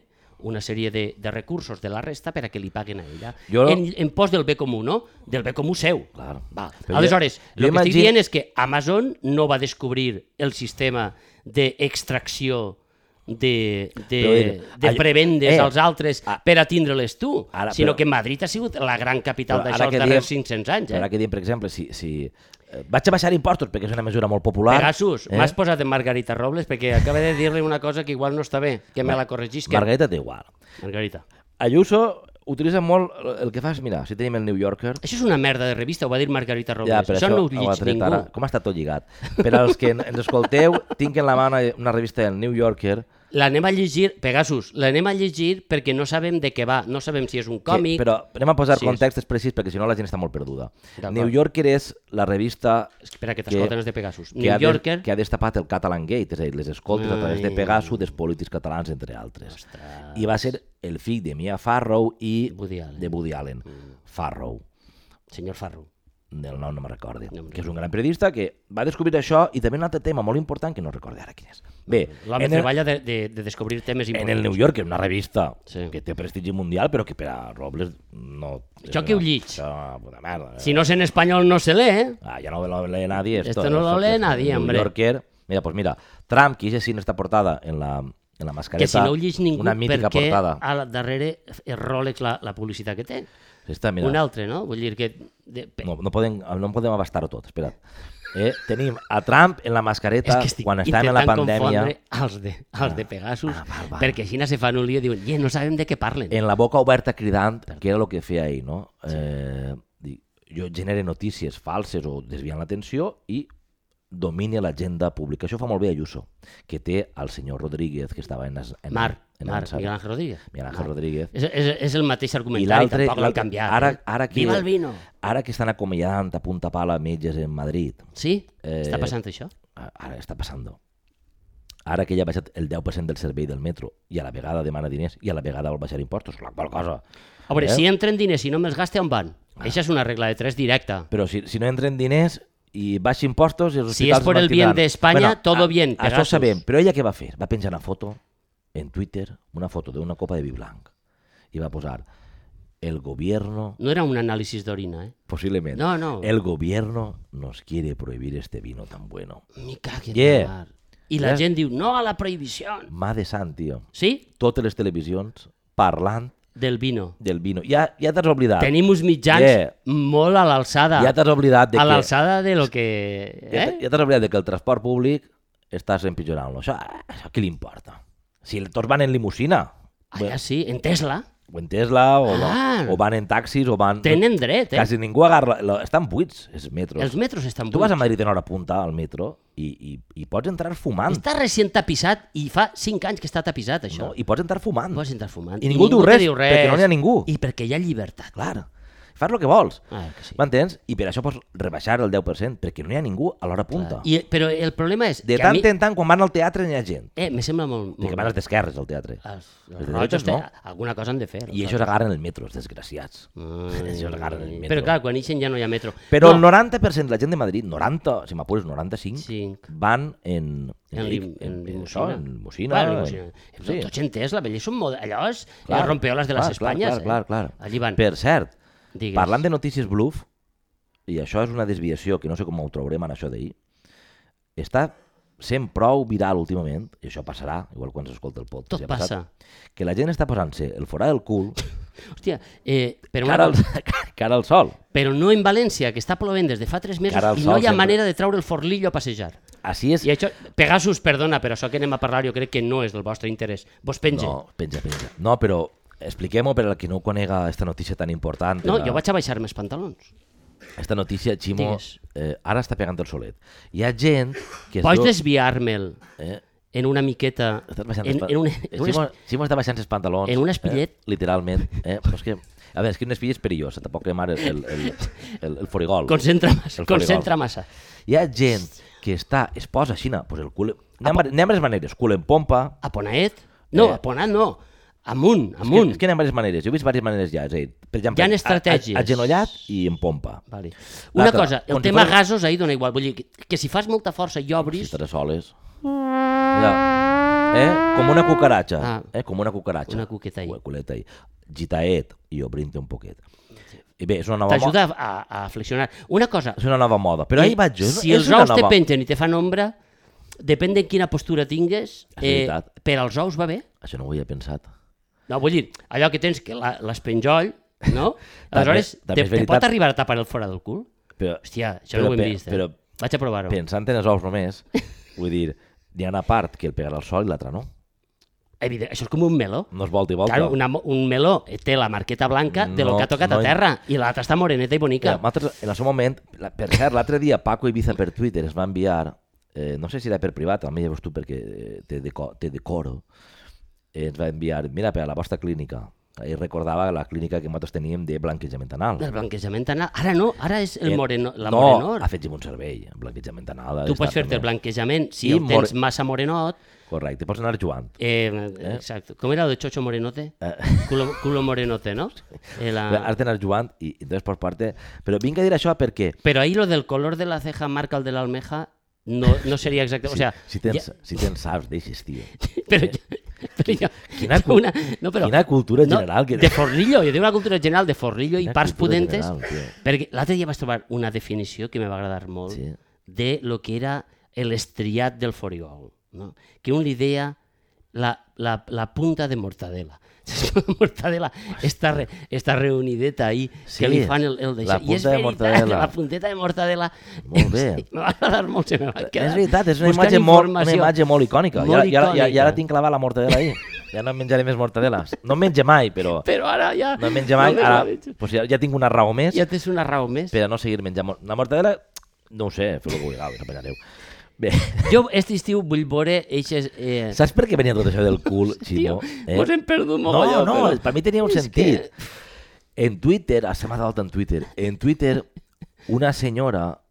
una sèrie de, de recursos de la resta per a que li paguen a ella.
Jo-
En, en pos del bé comú, no? Del bé comú seu.
Clar.
Val.
Però jo-
Aleshores, el que
jo
estic
imagino-
dient és que Amazon no va descobrir el sistema d'extracció de, de,
Però, eh,
de
allò-
prebendes
eh,
als altres
ah,
per a tindre-les tu,
ara,
sinó
però-
que Madrid ha sigut la gran capital
Però
d'això
ara
els
que
darrers
diem-
500 anys. Eh?
Però ara que diem, per exemple, si... si eh, vaig a baixar impostos perquè és una mesura molt popular. eh?
Pegasus, m'has posat en Margarita Robles perquè acaba de dir-li una cosa que igual no està bé, que me la corregisca.
Margarita té igual.
Margarita.
Ayuso utilitza molt el que fas, mira, si tenim el New Yorker...
Això és una merda de revista, ho va dir Margarita Robles.
però
això, no ho
ha
llig
tret
ningú.
ara. Com està tot lligat? Per als que en- ens escolteu, tinc en la mà una, una revista del New Yorker
L'anem a llegir, Pegasus, l'anem a llegir perquè no sabem de què va, no sabem si és un còmic...
Que, però anem a posar
Sí,
sí,
és-
contextes precís perquè si no la gent està molt perduda.
D'acord.
New Yorker és la revista
Espera, que t'escolten els de Pegasus.
que,
New Yorker...
ha de, que ha destapat el Catalan Gate, és a dir, les escoltes a través de
Ai.
Pegasus dels polítics catalans, entre altres. I va ser el fill de Mia Farrow i
Woody Allen. Mm.
de Woody Allen. Farrow,
Senyor Farro.
del nom no me'n recordo,
No me'n
que és un gran periodista que va descobrir això i també un altre tema molt important que no recordo ara quin és. Bé,
L'home
en el-
treballa de, de, de descobrir temes
en
importants.
el New Yorker, una revista
Sí.
que té prestigi mundial, però que per a Robles no...
Això que ho llig.
Això, puta merda.
Si no és en espanyol, no se lee, eh?
Ah, ya no lo lee nadie. Esto,
Esto no lo lee
que es
nadie,
New
hombre.
Yorker. Mira, pues mira, Trump, que ese sí en esta portada, en la, en la mascareta.
Que si no ho llig ningú,
Una mítica
perquè
portada.
al darrere és Rolex la, la publicitat que té.
Esta, mira,
Mira. Un altre, no? Vull dir que... De, pe-
no, no, podem, no podem abastar-ho tot, espera't. Eh, tenim a Trump en la mascareta quan estàvem en la
intentant
pandèmia,
confondre els de, els de Pegasus, ah, va, va. perquè així se fan un lío i diuen, "Ye, no sabem de què parlen.
en la boca oberta cridant, que era el que feia ahir, no? Eh, dic, jo genere notícies falses o desviant l'atenció i domini l'agenda pública. Això ho fa molt bé Ayuso, que té al senyor Rodríguez, que estava en... es- en
Mar,
en
Mar,
Ansar.
Miguel Ángel Rodríguez.
Miguel Ángel
Mar.
Rodríguez.
És, és, és el mateix
I
argumentari,
l'altre...
tampoc l'han
l'altre-
canviat.
Ara,
eh?
ara que,
Viva el vino!
Ara que estan acomiadant a punta pala metges en Madrid,
Sí?
Eh,
Està passant això?
a- ara està passant. Ara que ja ha baixat el 10% del servei del metro i a la vegada demana diners i a la vegada vol baixar impostos, la qual cosa...
A veure,
eh?
si entren diners i no me'ls gaste, on van?
Ah.
Això és una regla de tres directa.
Però si, si no entren diners i baixa impostos i els
Si
hospitals
és por
es
el bien
mantindran.
de España, todo
a-
bien,
Això ho
Pegasus.
sabem, però ella què va fer? Va penjar una foto en Twitter, una foto d'una copa de vi blanc i va posar el gobierno
No era un anàlisi d'orina, eh?
Posiblemente.
No, no.
El gobierno nos quiere prohibir este vino tan bueno.
Ni cague
Yeah.
yeah. I la
Yeah.
gent diu, no a la prohibició.
Mà de sant, tio.
Sí?
Totes les televisions parlant
Del vino.
del vino. Ja, ja t'has oblidat.
Tenim uns mitjans
Ah. Yeah.
molt a l'alçada.
Ja t'has oblidat de
a
que...
l'alçada de lo que...
Ja
Eh?
t- ja t'has oblidat de que el transport públic estàs empitjorant-lo. Això, eh, això qui li importa? Si tots van en limusina,
Ah, ja sí, en Tesla.
o en Tesla, o,
Ah.
o van en taxis, o van...
Tenen dret, eh?
Quasi ningú agarra... lo- Estan buits, els metros.
Els metros estan
Tu vas a
buits.
Madrid en hora punta, al metro, i, i, i pots entrar fumant.
Està recient tapissat i fa 5 anys que està tapissat, això.
No? I pots entrar fumant.
Pots entrar fumant.
I ningú diu
te
res, perquè no n'hi ha ningú.
I perquè hi ha llibertat.
Clar, fas el que vols.
Ah, que sí.
M'entens? I per això pots rebaixar el 10%, perquè no hi ha ningú a l'hora punta.
I, però el problema és...
De
que a
tant
mi...
en tant, quan van al teatre, n'hi ha gent.
Eh, me sembla molt... molt...
Perquè
Ah,
van els d'esquerres al teatre.
Els, els
Els de
rojos
dretes
no.
no.
alguna cosa han de fer.
I això agarren el metro, els desgraciats. Això agarren el metro.
Però clar, quan ixen ja no hi ha metro.
Però el
no,
90% de la gent de Madrid, 90, si m'apures, 95,
Cinc.
van en...
en, lim, en, limusina.
això, En limusina.
Bueno,
en-
limusina. Però
Sí.
Tots en Tesla, vell, són mod... allò és les rompeoles de les
clar,
Espanyes.
Clar, clar, clar,
eh?
clar.
Allí van.
Per cert,
Digues.
Parlant de notícies bluff, i això és una desviació que no sé com ho traurem en això d'ahir, està sent prou viral últimament, i això passarà, igual quan s'escolta el podcast.
Tot
ja ha passat,
passa.
Que la gent està posant-se el forà del cul
Hòstia, eh, però,
cara
una...
al, cara al sol.
però no en València, que està plovent des de fa tres mesos
Cara al
i
sol,
no hi ha
sempre.
manera de traure el forlillo a passejar.
Així és...
I això, Pegasus, perdona, però això que anem a parlar jo crec que no és del vostre interès. Vos penja.
No, penja, penja. No, però expliquem-ho per al que no conega aquesta notícia tan important.
no
de la-
jo vaig a baixar-me els pantalons.
Esta notícia, Ximo,
Digues.
eh, ara està pegant el solet. Hi ha gent que... es
Pots
du-
desviar-me'l
Eh?
en una miqueta...
Estàs baixant
en,
els pa-
en, un,
Eh,
en un,
Ximo, Ximo està baixant els pantalons.
en un espillet.
Eh? Literalment. Eh? Però és que, a veure, és que un espill és perillós, tampoc cremar el, el, el, el, el forigol.
Concentra massa.
El forigol.
Concentra massa.
Hi ha gent que està, es posa així, pues el cul... N'hi ha, var- n'hi ha diverses maneres, cul en pompa...
A Ponaet? No,
Eh.
a Ponaet no. Amunt,
És que,
amunt.
és que n'hi ha diverses maneres, jo he vist diverses maneres ja. És a dir, per exemple,
Hi ha
a- a-
estratègies.
Agenollat i en pompa.
Vale. Una
L'altra,
cosa, el
on si
tema
fos-
gasos ahir dona igual. Vull dir, que, que si fas molta força i
Si
obris...
estaràs soles... Allà. Eh? Com una cucaratxa.
Ah.
Eh? Com una cucaratxa.
Una cuqueta ahí.
Una culeta ahí. Gitaet i obrint-te un poquet. I bé, és una nova... mo-
T'ajuda a, a flexionar. Una cosa,
És una nova moda. Però ahir vaig jo.
si
és
els
una
ous te
nova...
pengen i te fan ombra, depèn de quina postura tingues,
És
eh,
veritat.
per als ous va bé?
Això no ho havia pensat.
No, vull dir, allò que tens, que la- l'espenjoll, no?
També-
Aleshores,
també
te,
és
te
veritat.
pot arribar a tapar el fora del cul?
Però,
Hòstia, això
Però
no ho hem
pe-
vist, eh?
però-
Vaig a provar-ho.
pensant en els ous només, vull dir, hi ha una part que el pegarà al sol i l'altra no.
Evident, això és com un meló.
No es volta i volta.
Claro, una, mo- un meló té la marqueta blanca de lo
No,
que ha tocat
no
a
hi-
terra i l'altra està moreneta i bonica.
Mira, nosaltres, en el seu moment, la- per cert, l'altre dia Paco Ibiza per Twitter es va enviar, eh, no sé si era per privat, també llavors tu perquè eh, te, deco, te decoro, eh, ens va enviar, mira, per a la vostra clínica. I recordava la clínica que nosaltres teníem de blanquejament anal.
El blanquejament anal... Ara no, ara és el
Eh,
moreno, la
no,
morenor.
ha fet un servei, el blanquejament anal. ha
Tu
d'estar
pots fer-te el
també.
blanquejament si
I
el tens
more-
massa morenot.
Correcte, pots anar jugant.
Eh, Exacte. Com era el de Chocho Morenote? Culo, culo Morenote, no? Eh,
Ah.
la...
Has d'anar jugant i entonces pots parte... Però vinc a dir això perquè
Però ahí lo del color de la ceja marca el de la almeja no, no seria exacte. O sea,
si tens, ja... si tens saps, deixes, tio.
Però, però jo,
Quina cu-
una, no, però,
Quina cultura general que...
De forrillo, jo tinc una cultura general de forrillo i
Quina
parts
cultura
pudentes.
general, tio.
perquè l'altre dia vaig trobar una definició que me va agradar molt
Sí.
de lo que era l'estriat del foriol. No? Que un li deia la, la, la punta de mortadela. La mortadela està, re, està reunideta ahí,
Sí,
sí, que li fan el, el
la
d'això.
punta
I és
de
veritat,
mortadela.
la punteta de mortadela.
Molt bé.
Sí, me va agradar molt, se me va quedar.
És veritat, és una
Buscant
imatge, molt, una
informació.
imatge molt icònica.
Molt
I, ara, i, ara, I ara
icònica.
tinc clavada la mortadela ahí. Ja no em menjaré més mortadeles. No en menja mai, però...
Però ara ja...
No en menja mai,
me la
ara
menjo.
pues ja, ja tinc una raó més
Ja tens una raó més.
per a no seguir menjant... mor- La mortadela, no ho sé, feu el que vulgueu, us apanyareu. Bé,
Jo aquest estiu vull veure eixes... Eh,
saps per què venia tot això del cul,
tio,
Ximo? Eh?
vos hem perdut
No,
mogolló,
no,
però...
per mi tenia un
és
sentit. En Twitter, ah, a setmana d'alta en Twitter, en Twitter una senyora,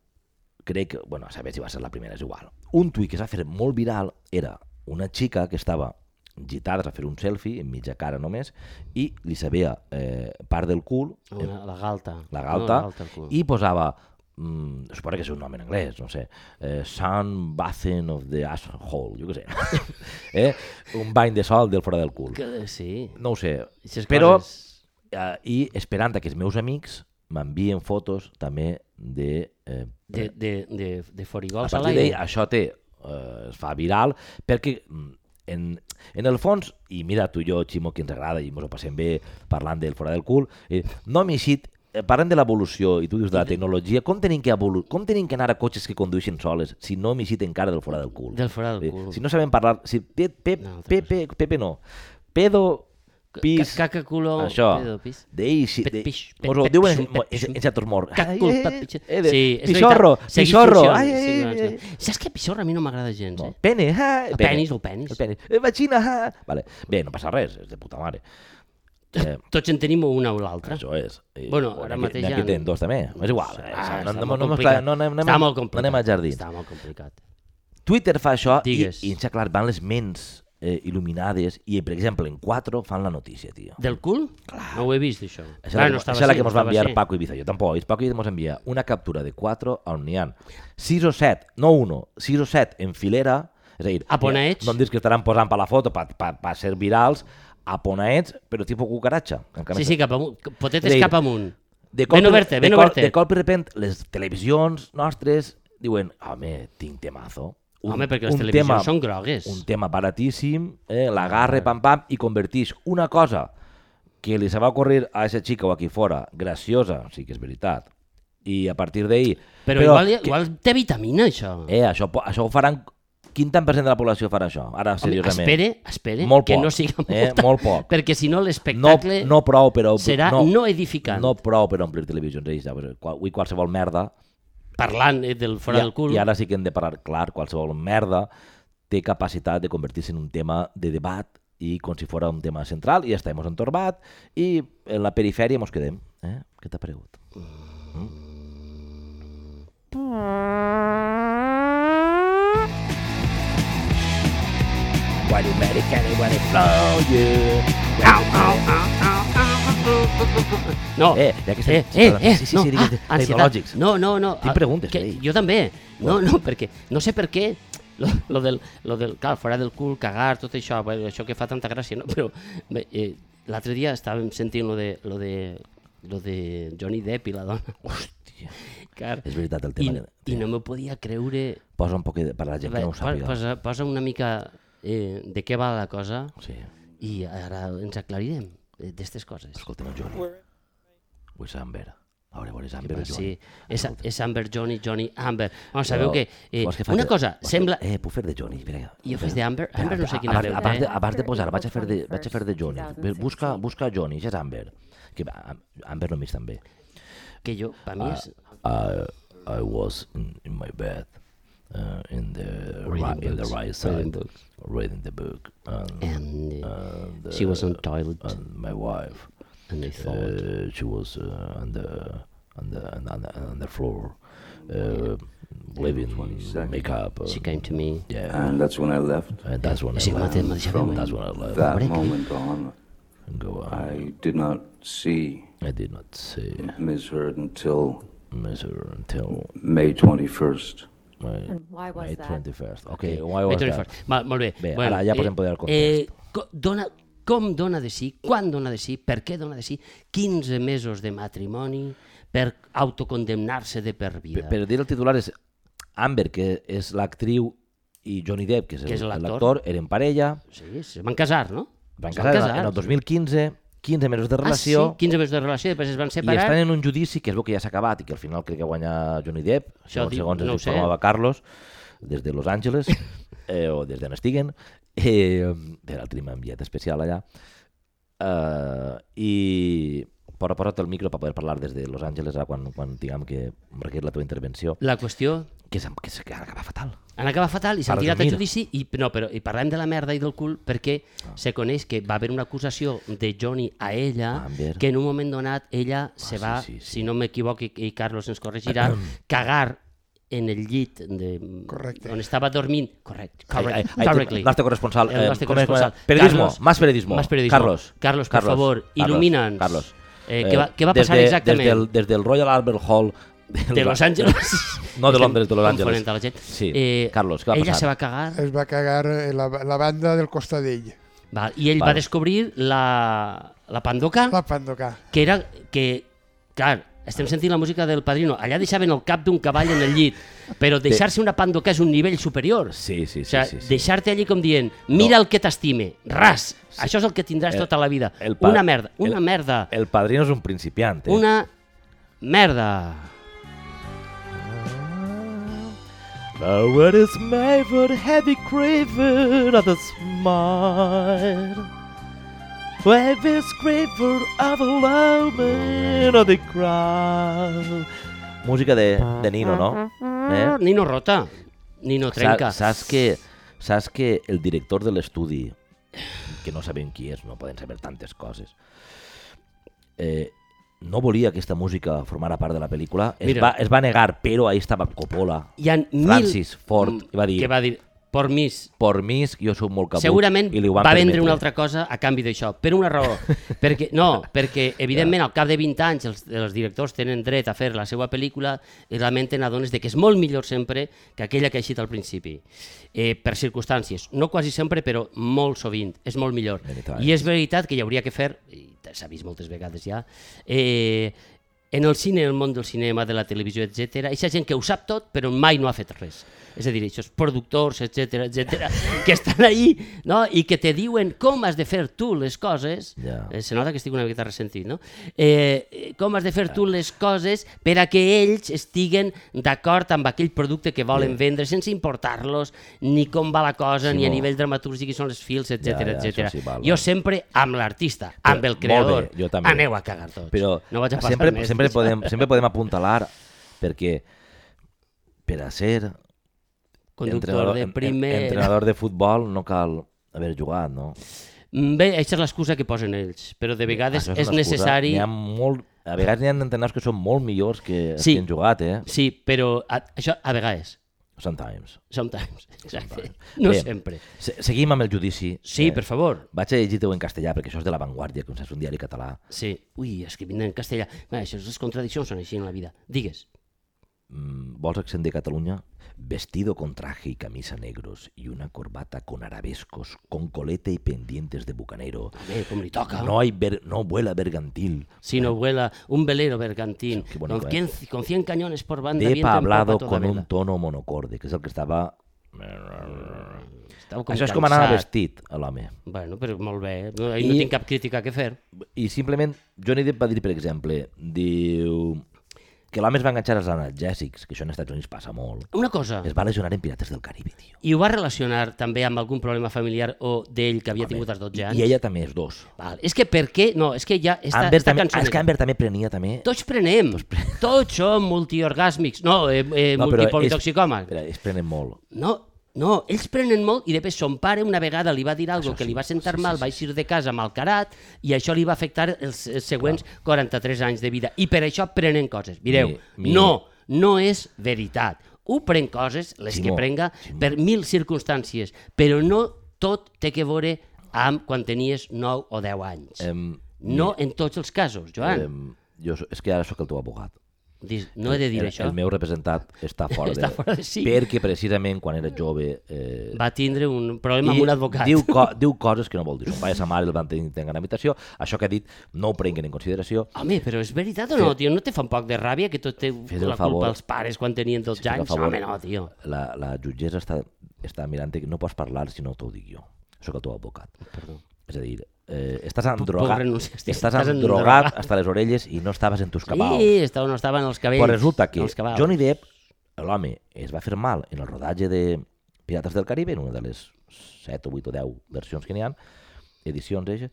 crec que, bueno, a saber si va ser la primera, és igual, un tuit que s'ha fet molt viral era una xica que estava gitada a fer un selfie, en mitja cara només, i li sabia eh, part del cul,
Una, la galta.
la
No, la
galta,
galta al Ah, cul.
i posava mm, suposo que és un nom en anglès, no sé, eh, Sun Bathing of the Asshole, jo què sé, eh? un bany de sol del fora del cul.
Que, sí.
No ho sé,
Eixes
però
coses.
eh, i esperant a que els meus amics m'envien fotos també de... Eh,
De, de, de, de
a
forigols a
partir d'ahir
l'aire.
això té, eh, es fa viral perquè mm, en, en el fons, i mira tu i jo, Ximo, que ens agrada i ens ho passem bé parlant del fora del cul, eh, no m'he eixit eh, parlant de l'evolució i tu dius de la tecnologia, com tenim que, evolu com tenim que anar a cotxes que condueixen soles si no m'he eixit encara del fora del cul?
Del fora del
Eh,
cul.
Si no sabem parlar... Si pe, pe,
No, altra
pe, pe, Pepe no. Pedo, pis...
Ca- Caca, culo,
Això,
pedo, pis.
d'eix...
Pet
de-
pix, pet-
Mos ho
pet
diuen
pixum,
en-
pet
en-
pixum.
en certos morts.
Cat,
Ai,
cul,
eh,
pat, pitxor.
eh, de-
Sí, és
Pixorro,
veritat. Seguís
pixorro.
funcionant,
Ai,
sí,
ai,
no, és
ai,
que- Saps que pixorro a mi no m'agrada gens, eh?
Pene, ah,
El
pene.
penis, el penis.
El penis. Eh, vagina, ah. Vale. Bé, no passa res, és de puta mare. Eh,
Tots en tenim una o l'altra.
això és. I,
Ah. Bueno, ara
n'hi ha
mateix
qui- n'hi
ja
ha qui tenen
no.
dos també, és igual. eh,
Ah,
no,
està
no,
molt
no, no,
complicat.
no, anem, anem,
Està molt
no
complicat.
anem al jardí.
Està molt complicat.
Twitter fa això i,
Digues.
i ens clar, van les ments eh, il·luminades i, per exemple, en 4 fan la notícia, tio.
Del cul? No ho he vist, això. Ah,
Això és la,
no
que-
estava
això és la
així,
que
no
ens va
estava
enviar
així.
Paco Ibiza. Jo tampoc. Paco Ibiza ens envia una captura de 4 on n'hi ha 6 o 7, no 1, 6 o 7 en filera. És a dir,
A Ponaets.
no em dius que estaran posant per la foto per, per, per ser virals a Ponaets, però tipus cucaratxa. amb
Sí,
camisa.
sí, cap amunt. Potetes
Deia,
cap amunt.
De
Ben
i-
oberta, ben
de, cop,
oberta.
de cop i repent, les televisions nostres diuen, home, tinc temazo.
Home, perquè les televisions
tema-
són grogues.
Un tema baratíssim, eh, l'agarre, pam, pam, i converteix una cosa que li se va ocorrir a aquesta xica o aquí fora, graciosa, sí que és veritat, i a partir d'ahir...
Però, igual,
que-
igual té vitamina, això.
Eh, això, po- això ho faran... Quin tant percent de la població farà això? Ara,
Home,
seriosament.
espere, espere,
Molt
que
poc,
no siga molta,
eh, molt poc.
perquè si no l'espectacle
no, no prou, però...
serà no, no edificant.
No prou per omplir televisions, ells, ja, però qual- avui qualsevol merda
Parlant eh, del fora
I a-
del cul,
I ara sí que hem de parlar clar, qualsevol merda té capacitat de convertir-se en un tema de debat i com si fora un tema central i ja està, hemos entorbat i en la perifèria mos quedem. Eh? Què t'ha paregut? Mm? Why do Mary Kelly wanna blow you?
no.
Eh, ja que
eh,
estem-
eh,
perdona,
eh,
sí, sí,
no,
sí, digues,
ah, ansietat.
tecnològics.
No, no, no.
Tinc
ah,
preguntes,
que,
Dei.
jo també. No, no, perquè no sé per què lo, lo, del, lo del, clar, fora del cul, cagar, tot això, bé, això que fa tanta gràcia, no? però bé, eh, l'altre dia estàvem sentint lo de, lo de, lo de Johnny Depp i la dona.
Hòstia.
car.
És veritat el
I,
tema. que-
I no m'ho podia creure.
Posa un poc de- per a la gent que no ho
Va,
sàpiga.
posa, posa una mica eh, de què va la cosa
Sí.
i ara ens aclarirem eh, d'aquestes coses.
Escoltem el Johnny. O és Amber. A veure, a veure, és
Ah,
Amber o Johnny.
Sí, és, és Amber Johnny, Johnny Amber. Bueno, sabeu
Però,
que, eh,
vols faci-
una cosa,
vols que-
sembla...
Eh, puc fer de Johnny, espera.
Jo faig d'Amber?
Espera,
Amber no sé
a-
quina
abans-
veu té,
Abans, de,
eh?
abans de posar, vaig a fer de, vaig a fer de Johnny. Ve- Busca, busca Johnny, ja és Amber. Que va, Am- Amber només també.
que jo, per mi
uh,
és...
I, I was in, in my bed, uh, in, the
Reading
ri- in the
books.
right
Reading
side,
books.
reading the book, and,
And, uh,
and,
she was on
uh,
toilet
and my wife,
and I thought...
uh, she was uh, on the on the on the, on the floor, uh, leaving makeup. Uh,
She came to me.
yeah,
And that's when I left.
and that's when I
Sí,
left.
mate, mate, ja
From
veu,
that's
eh?
when I left.
That
Correctly.
moment on,
And go on.
I did not see
I did not see
Ms. Heard until
Mr. until
May 21st.
my,
Why was
my
that?
21st. Okay, why was
Vaig tenir
that?
fort. Val, molt bé.
Bé, ara ja podem poder el context.
Eh, co- dona, com dona de si, quan dona de si, per què dona de si 15 mesos de matrimoni per autocondemnar-se de per
Per,
vida.
per dir el titular és Amber, que és l'actriu, i Johnny Depp, que és
Que és
el-
l'actor.
l'actor, eren parella,
Sí, es van casar, no?
van
Es
casar, en el 2015, 15 mesos de relació,
Ah, sí? 15 mesos de relació, després es van
i
separar.
estan en un judici que es veu que ja s'ha acabat i que al final crec que guanya Johnny Depp,
Això
segons,
diu-
segons
no ho
ens
sé.
informava Carlos, des de Los Angeles, eh, o des d'on estiguen, eh, ara el tenim enviat especial allà, eh, i però posa't el micro per poder parlar des de Los Angeles ara quan, quan diguem que requer la teva intervenció,
La qüestió
que, s'ha- que, s'ha- que ha acabat fatal.
han acabat fatal i s'han
Per
tirat a
resumir.
judici i, no, però, i parlem de la merda i del cul perquè ah. se coneix que va haver una acusació de Johnny a ella
Amber.
que en un moment donat ella ah, se
sí,
va,
sí, sí.
si no m'equivoco i- i Carlos ens corregirà, cagar en el llit de,
Correcte.
on estava dormint correcte,
Ai,
correcte,
ai,
correctly.
El nostre corresponsal.
El
eh,
nostre
com és?
corresponsal.
Periodismo,
Carlos,
más periodismo.
más periodismo.
Carlos.
Carlos, por favor, il·lumina'ns.
Carlos.
Eh, què va- què va
des
passar
de-
exactament?
Des del, des del Royal Albert Hall...
de Los Angeles.
No de Londres, de Los
Estem
Angeles.
confonent a La gent. Eh,
Sí. Carlos, què va
ella
passar?
se va cagar
Es va cagar eh, la, la banda del costadell,
va, i ell va,
Val.
descobrir la, la pandoca
la Pandoca.
que era que, clar, estem sentint la música del Padrino, allà deixaven el cap d'un cavall en el llit, però deixar-se una pandoca és un nivell superior.
Sí, sí, sí.
O sigui,
sí, sí.
deixar-te allí com dient, mira el que t'estime, ras, això és el que tindràs
El-
tota la vida.
el pa-
Una merda, una
el-
merda,
El padrino és un principiant. Eh?
una merda.
The world is made for the heavy craving of the smile. For every scraper of a loving of the crowd. Música de, de Nino, no? Eh?
Nino rota, Nino trenca.
Sa- Saps que, saps que el director de l'estudi, que no sabem qui és, no poden saber tantes coses, eh, no volia que aquesta música formara part de la pel·lícula. Es
Mira.
va, es va negar, però ahí estava Coppola,
Hi ha mil...
Francis Ford, i va dir,
Que va dir, por mis,
por mi, jo sóc molt cabut.
Segurament
i li ho van
va vendre
permetre.
una altra cosa a canvi d'això, per una raó. perquè, no, perquè evidentment al cap de 20 anys els, els directors tenen dret a fer la seva pel·lícula i realment te n'adones de que és molt millor sempre que aquella que ha eixit al principi. Eh, per circumstàncies, no quasi sempre, però molt sovint, és molt millor.
Veritat.
I és veritat que hi hauria que fer, i s'ha vist moltes vegades ja, eh, en el cine, en el món del cinema, de la televisió, etc. Hi ha gent que ho sap tot, però mai no ha fet res. És a dir, això és productors, etc etc que estan allí no? i que te diuen com has de fer tu les coses.
Ja.
Eh, se nota que estic una miqueta ressentit, no? Eh, eh, com has de fer tu les coses per a que ells estiguen d'acord amb aquell producte que volen vendre sense importar-los ni com va la cosa, ni a
Simó.
nivell dramatúrgic, qui són els fils, etc
Ja, ja,
etc.
això sí, val,
jo
val.
sempre amb l'artista, amb el
Molt bé,
creador,
jo també.
aneu a cagar tots.
Però
no vaig a passar
sempre,
més.
sempre, podem, sempre podem apuntalar perquè per a ser
Conductor de
en- en-
primer...
entrenador de futbol no cal haver jugat, no?
Mm, Bé, aquesta és l'excusa que posen ells, però de vegades
Això
és,
una excusa.
necessari...
N'hi Ha molt, a vegades n'hi ha entrenadors que són molt millors que els
Sí.
que han jugat, eh?
Sí, però a, això a vegades.
Sometimes.
Sometimes. Exacte. No
Bé. Eh.
sempre.
Se seguim amb el judici.
Sí, per favor.
Vaig a llegir-te-ho en castellà, perquè això és de La Vanguardia, com saps, un diari català.
Sí. Ui, escrivint en castellà. Bé, això, les contradiccions són així en la vida. Digues.
Mm, vols accent de Catalunya? Vestido con traje y camisa negros y una corbata con arabescos, con colete y pendientes de bucanero.
Bé, Eh, com li toca.
No, hay ver- no vuela bergantil,
Si no vuela un velero bergantín
Sí, qué bonito,
con,
eh.
100, con 100 cañones por banda. viento
Depa
en
ha
popa
hablado
toda
con
vela.
un tono monocorde, que és el que estava...
Estava
Això és com anava
cansat.
vestit, a l'home.
Bueno, però molt bé. No, I... no
I-
tinc cap crítica que fer.
I simplement, Johnny Depp va dir, per exemple, diu que l'home es va enganxar als analgèsics, que això en Estats Units passa molt.
Una cosa,
Es va lesionar en Pirates del Caribe, tio.
i ho va relacionar també amb algun problema familiar o d'ell que havia tingut als 12 anys?
I ella també, els dos.
Val. És que per què? No, és que ja està,
Amber
està
també,
cançonera.
és que Amber també prenia també...
Tots prenem. Tots som multiorgàsmics. No, eh, eh, no,
però és-
multipolitoxicòmans.
Espera, es prenen molt.
No, no, ells prenen molt i de després son pare una vegada li va dir algo que li va sentar mal, va eixir de casa malcarat i això li va afectar els, els següents 43 anys de vida. I per això prenen coses. Mireu,
Mi- mi-
no, no és veritat. Ho pren coses, les
Simó,
que prenga, per mil circumstàncies, però no tot té que veure amb quan tenies 9 o 10 anys.
Em,
no en tots els casos, Joan.
em, jo, so- és que ara sóc el teu abogat.
Dis, no he de dir
el,
això.
El meu representat està fora de...
Està fora de sí.
Perquè precisament quan era jove... Eh,
Va tindre un problema amb un advocat.
Diu, co diu coses que no vol dir. Son pare i sa mare el van tenir en habitació. Això que ha dit no ho prenguin en consideració.
Home, però és veritat o no, tio? No te fa un poc de ràbia que tot té
Fes el
la
favor.
culpa als pares quan tenien 12
Fes el
anys?
favor.
Home, no, tio.
La, la jutgessa està, està mirant que no pots parlar si no t'ho dic jo. Sóc el teu advocat. Perdó. És a dir, eh, estàs
puc
endrogat,
renunciar, estic-
estàs
estàs
endrogat
endrogat.
hasta les orelles i no estaves en tus cabals.
Sí, estava, no estaven els cabells.
Però resulta que
els cabals.
Johnny Depp, l'home, es va fer mal en el rodatge de Pirates del Caribe, en una de les 7 o 8 o 10 versions que n'hi ha, edicions eixes,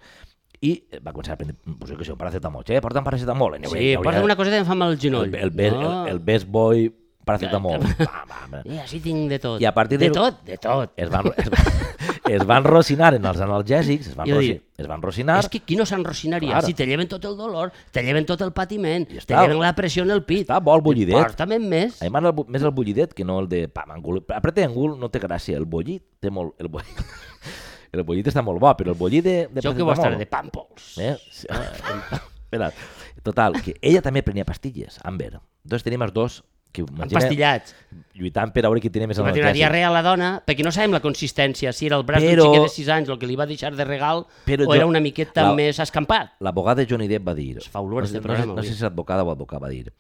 i va començar a prendre, pues, jo què sé, un paracetamol. Che, porta'm paracetamol. Anyway,
Sí,
hauria-
porta'm una cosa que em fa mal el genoll.
El, el, best,
No.
el, el best boy paracetamol. Pam, pam, pam.
Eh, així tinc de tot.
I a partir
de...
del-
tot, de tot.
Es van, es, van, es van rocinar en els analgèsics, es van,
Jo
roci,
dic,
es van rocinar,
És que qui no s'enrocinaria?
Clar.
Si te lleven tot el dolor, te lleven tot el patiment,
Ja
te
està.
lleven la pressió en el pit.
està bo el bullidet.
Porta'm més.
A mi m'agrada el bu- més el bullidet que no el de pam, engul. Apretar engul no té gràcia, el bullit té molt... El bullit, el bullit està molt bo, però el bullit de... de
Jo que vull estar
paracetamol,
de pàmpols.
Eh? Sí, ah, Espera. Total, que ella també prenia pastilles, Amber. Entonces tenim els dos que imagina,
Empastillats.
lluitant per a veure qui tenia més
Que va tenir una
analgèsics.
diarrea a la dona, perquè no sabem la consistència, si era el braç
Però-
d'un xiquet de 6 anys el que li va deixar de regal
Però
o
jo-
era una miqueta
la-
més escampat.
L'abogada de Johnny Depp va dir...
fa olor
no,
este
sé- no, sé,
programa,
no sé
avui.
si és advocada o advocat, va dir...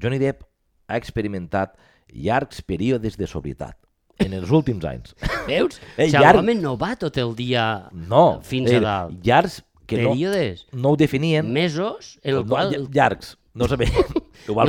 Johnny Depp ha experimentat llargs períodes de sobrietat en els últims anys.
Veus?
Eh,
si
llarg-
l'home no va tot el dia
No.
fins
eh,
a dalt.
Llargs que no,
Períodes,
no ho definien.
mesos, en el
no,
qual
ll- Llargs. No sabem. Igual,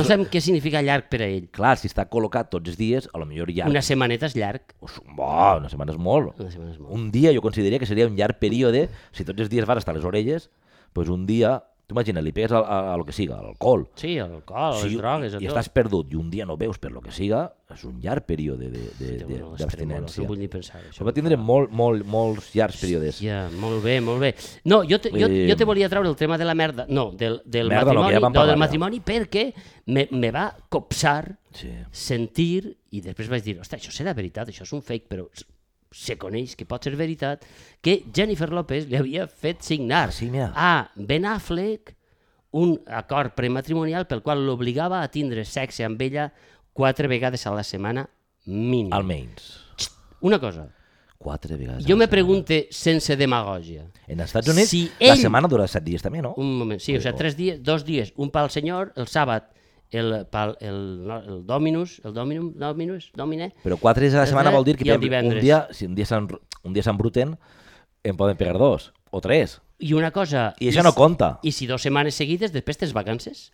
no sabem què significa llarg per a ell.
Clar, si està col·locat tots els dies, a lo millor llarg.
Una setmaneta és llarg.
Us- Bo, una setmana és molt.
Una setmana és molt.
Un dia jo consideraria que seria un llarg període, si tots els dies vas estar a les orelles, doncs un dia, tu imagina, li pegues al- a, a, lo que siga, a l'alcohol,
Sí, alcohol,
Sí,
les drogues, a
i
tot.
estàs perdut i un dia no veus per lo que siga, és un llarg període de- de-
Déu,
de-
no,
d'abstinència.
No vull ni pensar.
Això va tindre molt, molt, molts llargs períodes.
Ja, molt bé, molt bé. No, jo te, jo,
Eh,
jo te volia treure el tema de la merda, no, del, del
Merda, no, que
matrimoni,
ja vam
no,
parlar,
del
ja.
matrimoni perquè me, me va copsar
Sí.
sentir, i després vaig dir, ostres, això serà veritat, això és un fake, però s- se coneix que pot ser veritat, que Jennifer López li havia fet signar
sí, mira.
a Ben Affleck un acord prematrimonial pel qual l'obligava a tindre sexe amb ella quatre vegades a la setmana mínim.
Almenys.
Una cosa,
Quatre vegades.
jo
a la
me pregunte sense demagògia.
setmana. En els Estats Units,
si
la
ell-
setmana dura set dies també, no?
Un moment, sí, o sigui,
oh.
tres dies, dos dies, un pel senyor, el sàbat, el, pel, el, el dominus, el dominum, dominus, domine,
Però quatre dies a la
El
setmana
dret
vol dir que
i el
per exemple, un
divendres.
dia, si un dia s'enr- un dia s'embruten, en poden pegar dos o tres.
i una cosa...
I això no
si-
compta.
I si dues setmanes seguides, després tens vacances?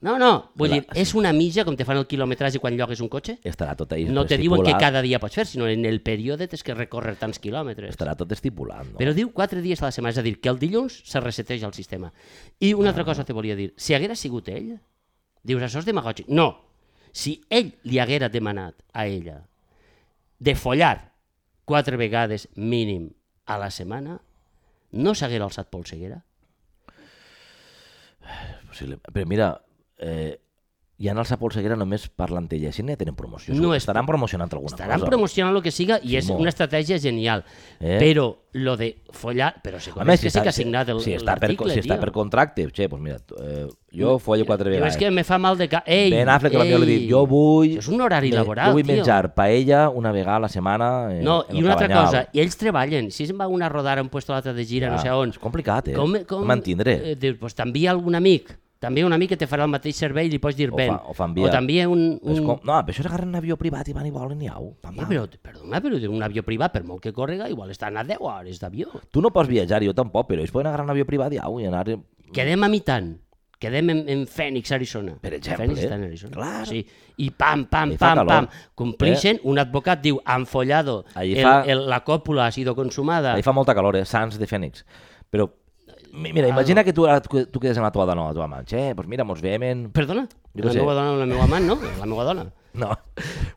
No, no, vull
Clar,
dir, és una mitja com te fan el quilometratge quan llogues un cotxe?
Estarà tot ahí
No te diuen que
estipulat,
cada dia pots fer, sinó en el període tens que recórrer tants quilòmetres.
Estarà tot estipulat, no?
Però diu quatre dies a la setmana, és a dir, que el dilluns se reseteja el sistema. I una altra cosa te volia dir, si haguera sigut ell, dius, això és demagògic. No, si ell li haguera demanat a ella de follar quatre vegades mínim a la setmana, no s'haguera alçat polseguera?
Possible. Però mira, eh, I en el Sapol Seguera només parlen d'ella. Si no ja tenen promoció.
No és-
Estaran promocionant alguna
Estaran
cosa.
promocionant el que siga i és
molt.
una estratègia genial.
Eh?
Però lo de follar... Però si
A
com
més,
és que sí que ha signat el-
si està per,
l'article,
si està
tio.
per contracte, che, pues mira, tu, eh, jo follo quatre
Jo
vegades.
és que me fa mal de cap. Ei,
ben Affleck a la
ei.
millor li dit, jo vull...
És un horari
me-
laboral,
Jo vull
tio.
menjar paella una vegada a la setmana eh,
No,
en
i
el
una altra
Cabanyal.
cosa, i ells treballen. Si se'n va una a rodar a un lloc l'altre de gira,
Ja,
no sé on...
Ah, És complicat, eh?
Com, com,
mantindré.
Eh, dius, pues, t'envia algun amic. També un amic que te farà el mateix servei i li pots dir
O
ben.
fa- o fa enviar.
o t'envia un...
És
un...
com... No, però això s'agarren un avió privat i van i volen i au. Pam,
Ja,
pam.
però, perdona, però d'un avió privat, per molt que córrega, igual estan a 10 hores d'avió.
Tu no pots viatjar, jo tampoc, però ells poden agarrar un avió privat i au i anar...
Quedem a mitant. Quedem en, en Phoenix, Arizona.
Per exemple,
Phoenix està en Arizona.
clar.
Sí. I pam, pam,
Allí fa
pam,
calor.
pam. Complixen, un advocat diu, han follado,
Allí
el,
fa-
el, la còpula ha sido consumada.
Ahí fa molta calor, eh? Sants de Fènix. Però, mi-
Ah,
mira, imagina que tu, ara tu tu quedes en la toada, no, a la teva mà. Che, pues mira, mos veiem en...
Perdona?
Jo què
la
sé.
meva dona, la meva amant, no? La meva dona.
No,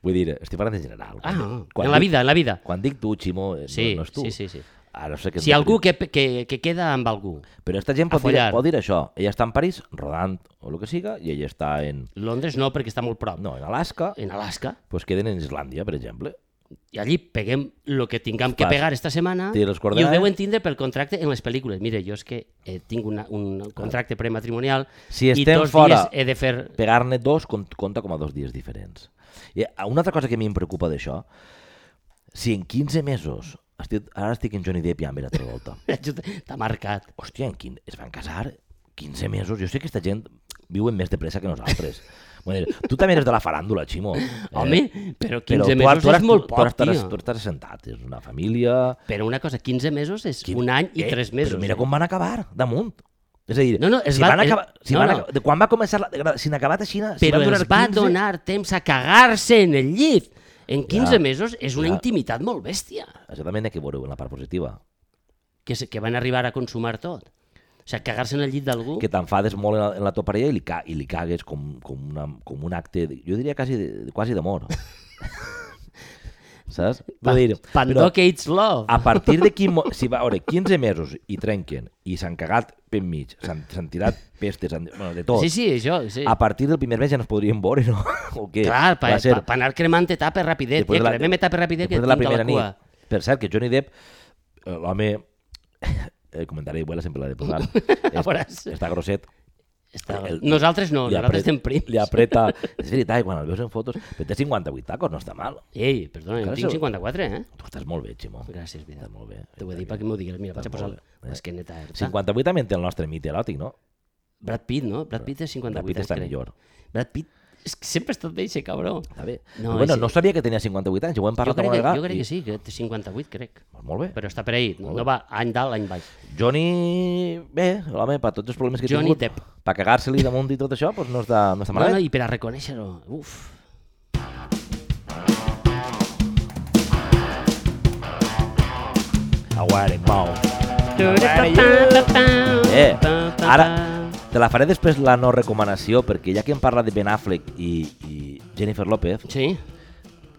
vull dir, estic parlant en general.
Ah, no.
Quan
en la
dic-
vida, en la vida.
Quan dic tu, Ximo, eh,
Sí,
no, no és tu.
sí, sí, sí.
Ara sé que és
Si
molt
algú
trist.
que, que, que queda amb algú,
Però aquesta gent
a
pot dir,
follar.
pot dir això. Ella està en París, rodant o el que siga, i ella està en...
Londres no, perquè està molt prop,
No, en Alaska,
en Alaska,
doncs queden en Islàndia, per exemple.
i allí peguem el que tinguem que
Fas-
pegar esta setmana
Tira
i
les
ho
coordenades.
deuen tindre pel contracte en les pel·lícules. Mire, jo és que eh, tinc una, un contracte prematrimonial
Si
i
estem
dos
fora-
dies he de fer...
Pegar-ne dos cont- compta com a dos dies diferents. I eh, una altra cosa que a mi em preocupa d'això, si en 15 mesos, estic, ara estic en Johnny Depp i Amber Travolta,
T'ha marcat.
hòstia, en quin, es van casar 15 mesos, jo sé que aquesta gent viu més de pressa que nosaltres. Vull dir, tu també eres de la faràndula, Ximo. Eh,
Home, però 15
tu ara-
mesos
tu ara-
és molt
tu ara
poc, tio.
estaràs- Tu estaràs sentat, és una família...
Però una cosa, 15 mesos és
Quin-
un any i 3 mesos.
Però mira
eh?
com van acabar, damunt. És a dir,
No, no, es
si
va-
van
es-
acabar, si
no,
van
no.
acabar, de quan va començar la degradació, si n'acabat així, si
però
va durar
els va
15,
donar temps a cagar-se en el llit. En 15
Ja,
mesos és una
ja.
intimitat molt bèstia,
Això també n'hi ha que veure en la part positiva.
que, se- que van arribar a consumar tot. O sigui, cagar-se en el llit d'algú...
Que t'enfades molt en la, en la tua parella i li, ca, i li cagues com, com, una, com un acte, de, jo diria quasi, de, quasi d'amor. Saps?
Pa-
Vull dir,
Pandó que ets love.
a partir de quin... mo- Si va, a veure, 15 mesos i trenquen i s'han cagat pel mig, s'han s'han tirat pestes, s'han- bueno, de tot.
Sí, sí, això, sí.
A partir del primer mes ja no es podrien veure, no? O què?
Clar,
Ah, Va
per
ser-
pa, pa anar cremant etapes rapidet. Després
Després de la-
cremem etapes rapidet Eh, que tinc
després de la
a
primera
la cua.
nit. Per cert, que Johnny Depp, eh, l'home... El comentari de Vuela sempre l'ha de posar.
veuràs.
Es- està grosset.
Està...
El-
Nosaltres no,
li
nosaltres
apret-
estem prims.
Li apreta... És veritat, i quan el veus en fotos... Però té 58 tacos, no està mal.
Ei, perdona,
Clar,
jo tinc
això-
54, eh?
Tu estàs molt bé, Ximo.
Gràcies, vida.
Estàs molt bé.
T'ho vull dir perquè m'ho digues. Mira, vaig a
Està
posar
molt bé.
l'esqueneta. Sí,
58 també té el nostre mit eròtic, no?
Brad Pitt, no? Brad Pitt és 58
Brad Pitt
anys,
està
crec.
millor.
Brad Pitt és que sempre ha estat bé, ese cabró.
Està bé.
No,
No, bueno,
és-
no sabia que tenia 58 anys, ho
Jo
hem parlat
crec,
alguna
que,
vegada.
jo crec
i-
que sí, que té 58, crec.
Doncs Molt bé.
Però està per ahir, no,
Molt
no
bé.
va any dalt, any baix.
Johnny, bé, l'home, per tots els problemes que
Johnny
ha tingut,
Depp.
per cagar-se-li damunt i tot això, doncs no està, no està
No, no,
malament.
i per a reconèixer-ho, uf.
Aguare, mau. Eh, ara te la faré després la no recomanació, perquè ja que hem parlat de Ben Affleck i, i Jennifer López,
Sí,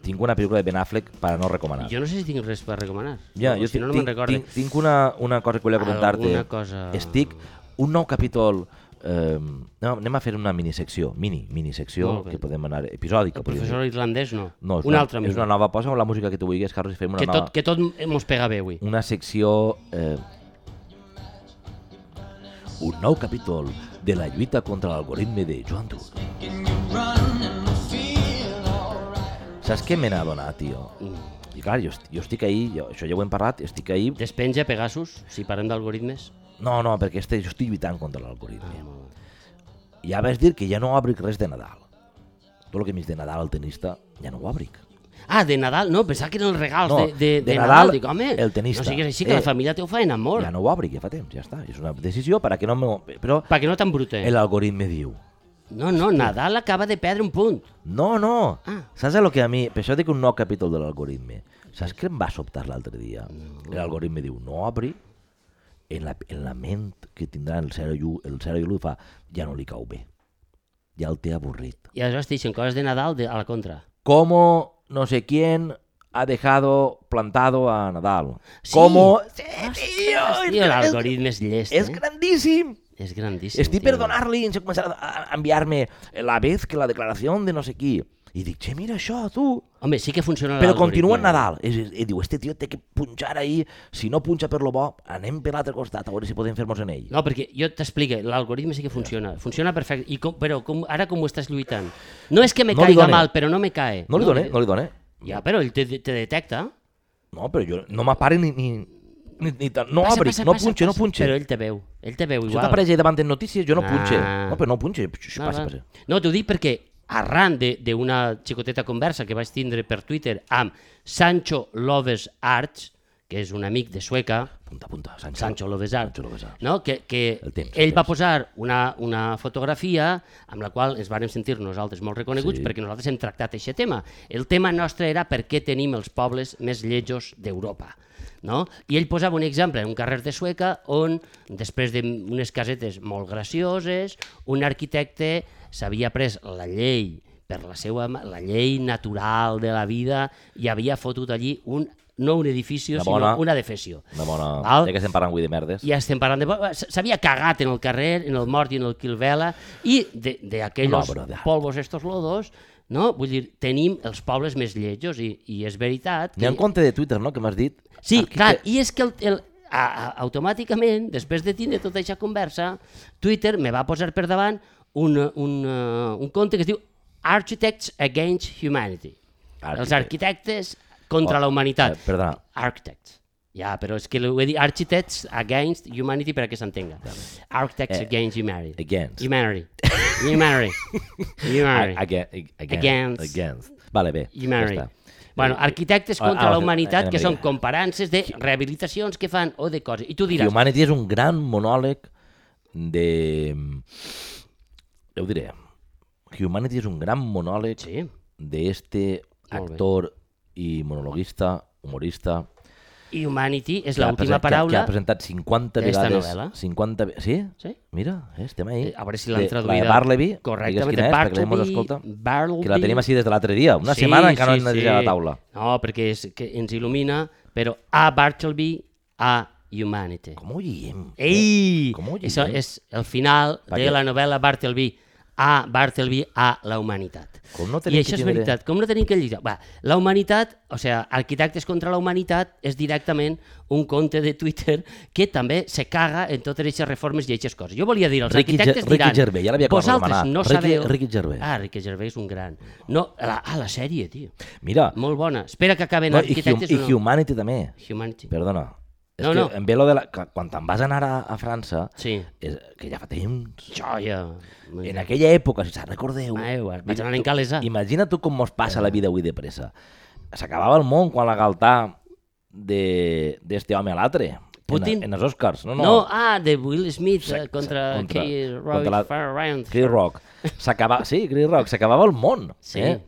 tinc una pel·lícula de Ben Affleck per no recomanar.
jo no sé si tinc res per recomanar.
Ja,
O
jo
si no, no
tinc-
me'n recorde.
Tinc, tinc una, una cosa que volia comentar-te.
Alguna cosa-
Estic un nou capítol... Eh, no, anem a fer una minisecció, mini, minisecció,
Molt bé.
que podem anar episòdica.
El
podríem dir.
professor irlandès no.
No, és
un
una,
altre
és una nova, posa la música que tu vulguis, Carlos, i fem una
que,
nova...
tot, que tot mos pega bé avui.
Una secció... Eh, un nou capítol de la lluita contra l'algoritme de Joan Dur. Saps què me n'ha donat, tio? I clar, jo, est- jo estic ahí, jo, això ja ho hem parlat, estic ahí...
Despenja Pegasus, si parlem d'algoritmes.
No, no, perquè este, jo estic lluitant contra l'algoritme. Ja vaig dir que ja no obric res de Nadal. Tot el que m'he de Nadal al tenista ja no ho obric.
Ah, de Nadal, no, pensava que eren els regals
No,
de, de,
de
de
Nadal,
Nadal. Dic, home,
el tenista.
No sigues així, que
Eh.
la família teu fa en amor.
Ja no ho obric, ja fa temps, ja està. És una decisió per a que no... Me... Però
Perquè no t'embrute.
l'algoritme diu
No, no, Nadal acaba de perdre un punt.
No, no.
Ah.
Saps el que a mi... Per això dic un nou capítol de l'algoritme. Saps què em va sobtar l'altre dia? L'algoritme diu, no obri, en la, en la ment que tindrà el 0 i 1, el 0 i l'1 fa, ja no li cau bé. Ja el té avorrit.
I aleshores t'hi deixen coses de Nadal de, a la contra.
Como no sé quién ha dejado plantado a Nadal.
Sí.
Como... Sí,
Hòsties, tio, l'algoritme és llest,
És
eh?
grandíssim.
És grandíssim.
Estic
tio.
per donar-li, ens ha començat a- a a enviar-me la vez que la declaració de no sé qui. I dic, che, mira això, tu.
Home, sí que funciona
Però
l'algoritme.
continua en Nadal. I, i, i diu, este tio té que punxar ahir, si no punxa per lo bo, anem per l'altre costat, a veure si podem fer-nos en ell.
No, perquè jo t'explique, l'algoritme sí que funciona. Funciona perfecte. I com, però com, ara com ho estàs lluitant? No és que me
No li
caiga
done.
mal, però no eh? me cae.
No li done, no li done.
Ja, però ell te, te detecta.
No, però jo no m'apare ni... ni, ni, ni tan- no
Passa,
obri,
passa,
no
passa,
punxe, no
passa.
punxe.
Però ell te veu. Ell te veu
Això
igual.
t'apareix ahí davant de notícies, jo no punxe.
Ah.
No, però no punxe, això
No,
passa,
va.
passa.
no t'ho dic perquè arran de- d'una xicoteta conversa que vaig tindre per Twitter amb Sancho Loves Arts, que és un amic de Sueca,
Punta, punta, Sancho.
Sancho Lovesar,
Sancho Lovesar.
no? que, que
El temps, el
ell va
temps.
posar una, una fotografia amb la qual ens vàrem sentir nosaltres molt reconeguts
Sí.
perquè nosaltres hem tractat aquest tema. El tema nostre era per què tenim els pobles més lletjos d'Europa. No? I ell posava un exemple en un carrer de Sueca on, després d'unes casetes molt gracioses, un arquitecte s'havia pres la llei per la seva ma- la llei natural de la vida i havia fotut allí un, no un edifici,
Una
sinó
bona-
una defesió.
Una bona...
Val?
Ja que estem parlant avui de merdes.
Ja estem parlant de... s- S'havia cagat en el carrer, en el mort i en el Kilvela, i de- d'aquells
Una obra d'art.
polvos estos lodos, no? Vull dir, tenim els pobles més lletjos i, i és veritat.
N'hi ha en compte de Twitter, no?, que m'has dit.
Sí,
Arquitecte-
clar, i és que el, el, a, a, automàticament, després de tindre tota aquesta conversa, Twitter me va posar per davant un, un, eh, un compte que es diu Architects Against Humanity.
Arquitecte.
Els arquitectes contra
Oh,
la humanitat.
eh, perdona.
Architects. Ja, però és que ho he dit Architects Against Humanity perquè s'entenga. Architects
Eh,
Against Humanity.
against.
Humanity. Humanity. Humanity.
A- aga- against.
Against.
Against. Vale, bé.
i
ja
Mary.
està.
Bueno, arquitectes contra
Ah,
la
ah,
humanitat,
anem
que
bé.
són comparances de rehabilitacions que fan o de coses. I tu diràs,
Humanity és un gran monòleg de... Ja ho diré. Humanity és un gran monòleg
sí,
d'este
Molt bé.
actor i monologuista, humorista...
i humanity és
que ha
l'última
presen- que- Que,
paraula.
ha presentat 50
d'esta
vegades...
novel·la.
50... ve- Sí?
Sí.
Mira, eh, estem ahí.
Eh, A veure si l'han
De-
traduïda
La de Barleby, digues
correctament.
quina és, perquè la gent mos
Bartleby,
escolta.
Bartleby.
Que la tenim així des de l'altre dia. Una setmana encara no hem anat a la taula.
No, perquè és, que ens il·lumina, però a Bartleby, a humanity.
Com ho diem?
Ei!
Eh, Com ho
Això
diem?
és el final
Perquè-
de la novel·la Bartleby a Bartleby a la humanitat.
Com no tenim
I
que
això és
tindre-
veritat, com no tenim que llegir? Va, la humanitat, o sigui, Arquitectes contra la humanitat és directament un compte de Twitter que també se caga en totes aquestes reformes i aquestes coses. Jo volia dir, els
Eh, Ricky Ge-
arquitectes
Ricky
diran...
Gervais, ja l'havia acabat de
vosaltres
demanar.
no
Ricky-
sabeu...
Ricky Gervais.
Ah, Ricky Gervais és un gran. No, la, ah, la sèrie, tio.
Mira,
Molt bona. Espera que acaben
no, i, hum,
arquitectes
i
o no.
Humanity també.
Humanity.
Perdona. És
No,
que
no.
em ve lo de la... que Quan te'n vas anar a, a França,
Sí.
és, que ja fa temps...
Joia.
En aquella època, si se'n recordeu...
Meu, vaig anar en calesa.
Imagina tu com mos passa la vida avui de pressa. S'acabava el món quan la galtà de- d'este home a l'altre.
Putin?
En, en els Oscars. No,
No,
no.
ah, de Will Smith
Sa-
eh,
sa-
contra,
contra-
Key Roy
contra la-
Farrand.
Chris Rock. S'acaba... Sí, Chris Rock. S'acabava el món.
Sí.
Eh?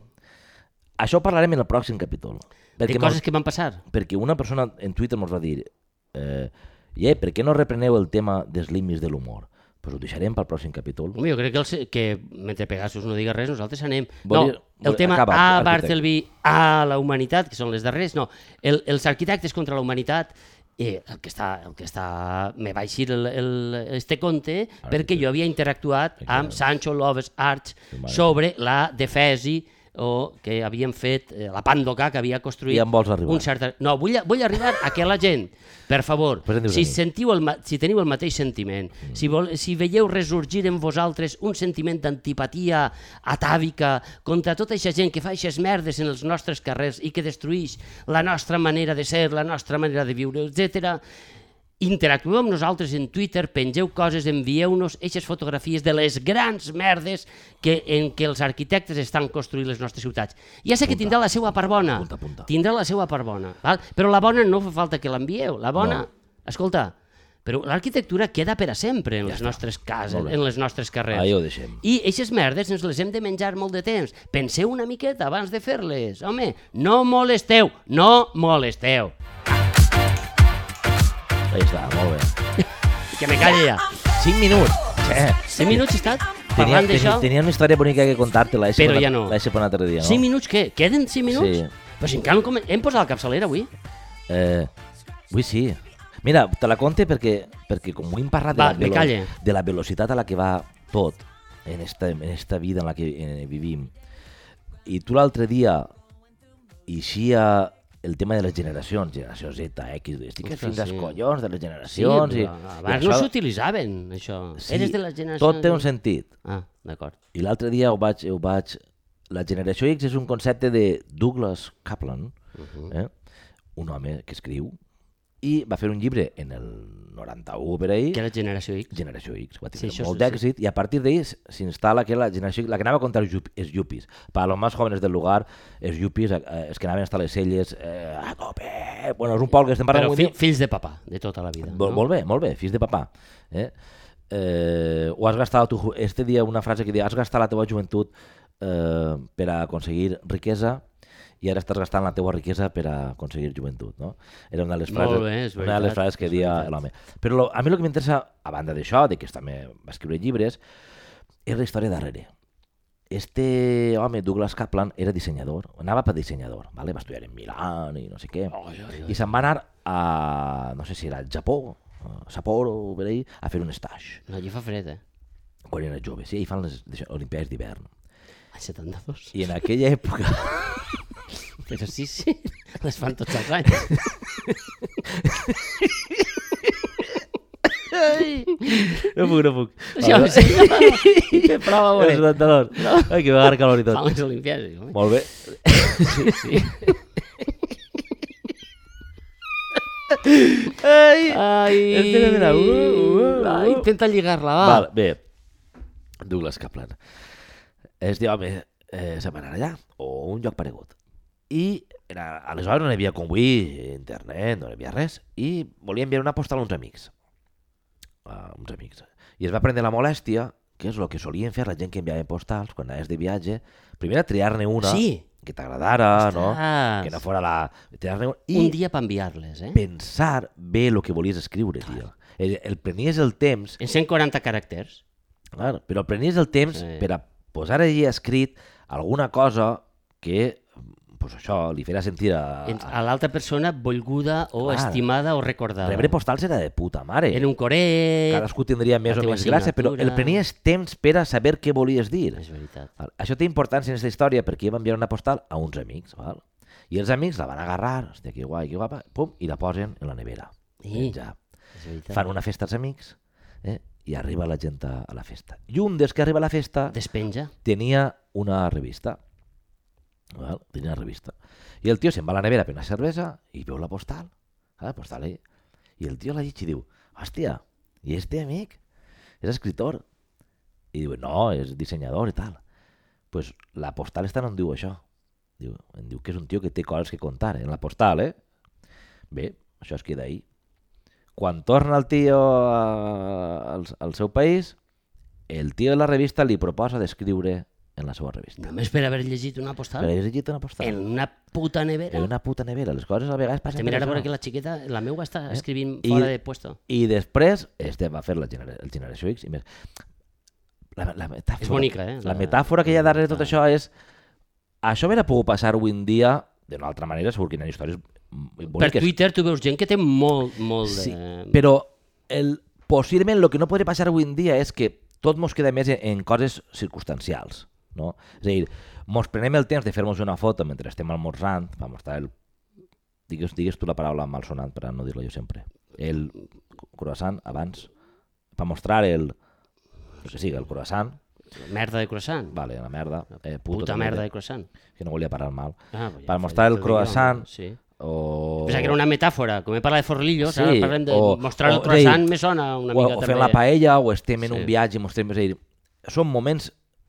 Això ho parlarem en el pròxim capítol.
De
Perquè,
coses
mos,
que van passar.
perquè una persona en Twitter mos va dir eh, "Ie, per què no repreneu el tema dels límits de l'humor? Pues ho deixarem pel pròxim capítol.
Home, jo crec que, els, que mentre Pegasus no diga res, nosaltres anem.
Volia-
no, el
volia-
tema
acaba,
a
arquitecte.
Bartleby, a la humanitat, que són les darrers, no. El, els arquitectes contra la humanitat, eh, el que està, el que està, me va eixir el, el, este conte perquè jo havia interactuat amb Sancho Loves Arts sobre la defesi o que havien fet eh, la Pandoca que havia construït
I en vols arribar.
un cert... No, vull, vull arribar a que la gent, per favor,
Pues en dius a
si,
mi.
sentiu el, ma- si teniu el mateix sentiment, mm. si, vol, si veieu resorgir en vosaltres un sentiment d'antipatia atàvica contra tota aquesta gent que fa aquestes merdes en els nostres carrers i que destruïx la nostra manera de ser, la nostra manera de viure, etc. Interactueu amb nosaltres en Twitter, pengeu coses, envieu-nos aquestes fotografies de les grans merdes que, en què els arquitectes estan construint les nostres ciutats. Ja sé que tindrà la seva part bona,
Apunta, apunta.
tindrà la seva part bona, val? però la bona no fa falta que l'envieu, la bona...
No.
Escolta, però l'arquitectura queda per a sempre en ja les nostres cases,
Molt bé.
en les nostres carrers.
Ahí ho deixem.
I aquestes merdes ens les hem de menjar molt de temps. Penseu una miqueta abans de fer-les. Home, no molesteu, no molesteu.
Ahí està, molt bé.
Que me calli ja.
5 minuts. Eh.
5 minuts he estat
Tenia,
parlant
tenia,
d'això.
tenia una història bonica que contar-te, la deixo
Però
per una-
ja no.
La deixo per un altre dia, no?
5 minuts què? Queden 5 minuts?
Sí.
Però si encara no comen... Hem posat la capçalera avui?
Eh, avui sí. Mira, te la conte perquè, perquè com vull parlar de,
Va,
la
me
velo-
calle.
de la velocitat a la que va tot en esta, en esta vida en la que eh, vivim, i tu l'altre dia eixia el tema de les generacions, generació Z, X, estic
Ostres,
fins als
sí.
collons de les
Sí,
generacions.
però
i,
abans
i
no
això-
s'utilitzaven, això.
sí,
Eres de la generació...
Tot té un sentit.
Ah, d'acord.
I l'altre dia ho vaig, ho vaig... La generació X és un concepte de Douglas Kaplan, uh
Uh-huh.
-huh. eh? un home que escriu, i va fer un llibre en el 91 per ahir,
Que era generació X.
Generació X, va
Sí,
tenir
això
molt
sí, sí.
d'èxit, i a partir d'ahir s- s'instal·la que la generació X, la que anava a contar els, yup, els yuppies, per als més jóvenes del lugar, els yuppies, eh, els que anaven a estar a les celles, eh, a cope, bueno, és un poble que estem parlant
Però
avui
fi, fills de papà, de tota la vida.
Mol,
no?
Molt bé, molt bé, fills de papà. Eh? Eh, ho has gastat tu, este dia una frase que diu has gastat la teva joventut eh, per a aconseguir riquesa i ara estàs gastant la teva riquesa per a aconseguir joventut, no? Era una de les
Molt
frases,
bé, és
una de
veritat,
les frases que
és
dia
veritat.
l'home. Però lo, a mi el que m'interessa, a banda d'això, de que també va escriure llibres, és la història darrere. Este home, Douglas Kaplan, era dissenyador, anava per dissenyador, vale? va estudiar en Milán i no sé què, i se'n va anar a, no sé si era al Japó, a Sapporo o per ahí, a fer un stage,
No, allí fa fred, eh?
quan era jove, sí, i fan les deixa- Olimpiades d'hivern.
A 72.
I en aquella època,
Però sí, sí, les fan tots els anys.
no puc, no puc.
Sí, home, sí,
Què prova,
home?
Els rentadors. Ai, que va agarrar calor i tot.
fan les olimpiades. home.
Molt bé.
Sí, sí.
Ai,
Ai,
Espera, espera, uh, uh, uh.
Ai, intenta lligar-la, va.
Val, bé. Douglas Kaplan. És dir, home, eh, se'n va anar allà, o un lloc paregut. I era, aleshores no n'hi havia com avui, internet, no n'hi havia res, i volia enviar una postal a uns amics. A uns amics. I es va prendre la molèstia, que és el que solien fer la gent que enviava postals quan anaves de viatge, primer a triar-ne una
Sí.
que t'agradara, no?
Ostres.
que no fora la... triar-ne una-
Un dia per enviar-les, eh?
pensar bé el que volies escriure, tio. El, el prenies el temps
En 140 caràcters.
Clar, però prenies el temps
Sí.
sí. per a posar allí escrit alguna cosa que pues això, li fera sentir a...
en- A
a...
l'altra persona volguda o
Ah. Clar.
estimada o recordada.
Rebre postals era de puta mare.
En un coret...
Cadascú tindria més
la
o
teva
menys gràcia, però el
signatura.
prenies temps per a saber què volies dir.
És veritat.
Val? Això té importància en aquesta història perquè va enviar una postal a uns amics, val? i els amics la van agarrar, hòstia, que guai, que guapa, pum, i la posen en la nevera.
Sí.
Ja.
És veritat.
Fan una festa als amics eh? i arriba la gent a a la festa. I un des que arriba a la festa...
Despenja.
tenia una revista. Val? Tenia una revista. I el tio se'n va a la nevera per una cervesa i veu la postal. Ah, la postal eh? I el tio la llegeix i diu, hòstia, i este amic és escritor. I diu, no, és dissenyador i tal. pues la postal esta no em diu això. Diu, em diu que és un tio que té coses que contar eh? en la postal, eh? Bé, això es queda ahí. Quan torna el tio a, al, al seu país, el tio de la revista li proposa d'escriure en la seva revista.
Només per haver llegit una
Però
postal
he llegit una postal.
Ah. en una puta nevera.
En una puta nevera. Les coses a vegades passen...
Te mirar a
per
veure
això.
que la xiqueta, la meua està escrivint
Eh? I-
fora de puesto.
I després, este va fer la genera... el Generació X i més. La, la metàfora,
És bonica, eh?
La metàfora que hi ha darrere de tot això és... Això hauria pogut passar avui en dia d'una altra manera, segur que hi ha històries
Per
boniques.
Twitter tu veus gent que té molt, molt de...
Sí, però el, possiblement el que no podria passar avui en dia és que tot mos queda més en, en coses circumstancials. No? És a dir, mos prenem el temps de fer-nos una foto mentre estem almorzant, va mostrar el... Digues, digues tu la paraula malsonant per a no dir-la jo sempre. El croissant abans, va mostrar el... El que sigui, el croissant,
Merda de croissant.
vale, la merda, eh, puto,
Puta
també,
merda de croissant.
que no volia parar mal,
Ah, pues ja
Per
fa-
mostrar el
t'ho dic jo,
croissant.
Sí.
o...
Pensava que era una metàfora, com he parlat de forlillos, sí, ara
Sí,
parlem de
o-
mostrar el
o-
croissant,
sí.
me sona una
o,
mica
o
també.
fent la paella, o estem en
Sí.
un viatge i mostrem... És a dir, són moments,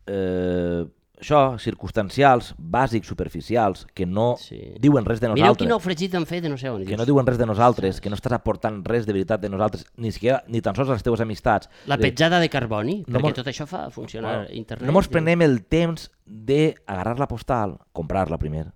eh, això, circumstancials, bàsics, superficials, que no
Sí.
diuen res de
Mireu quin
nosaltres.
ofregit han fet de no sé on.
que
dius.
no diuen res de nosaltres, que no estàs aportant res de veritat de nosaltres, ni, siquiera, ni tan sols a les teves amistats.
La
És a dir,
petjada de carboni,
No
perquè
mos-
tot això fa funcionar
bueno,
internet.
No mos prenem el temps d'agarrar la postal, comprar-la primer,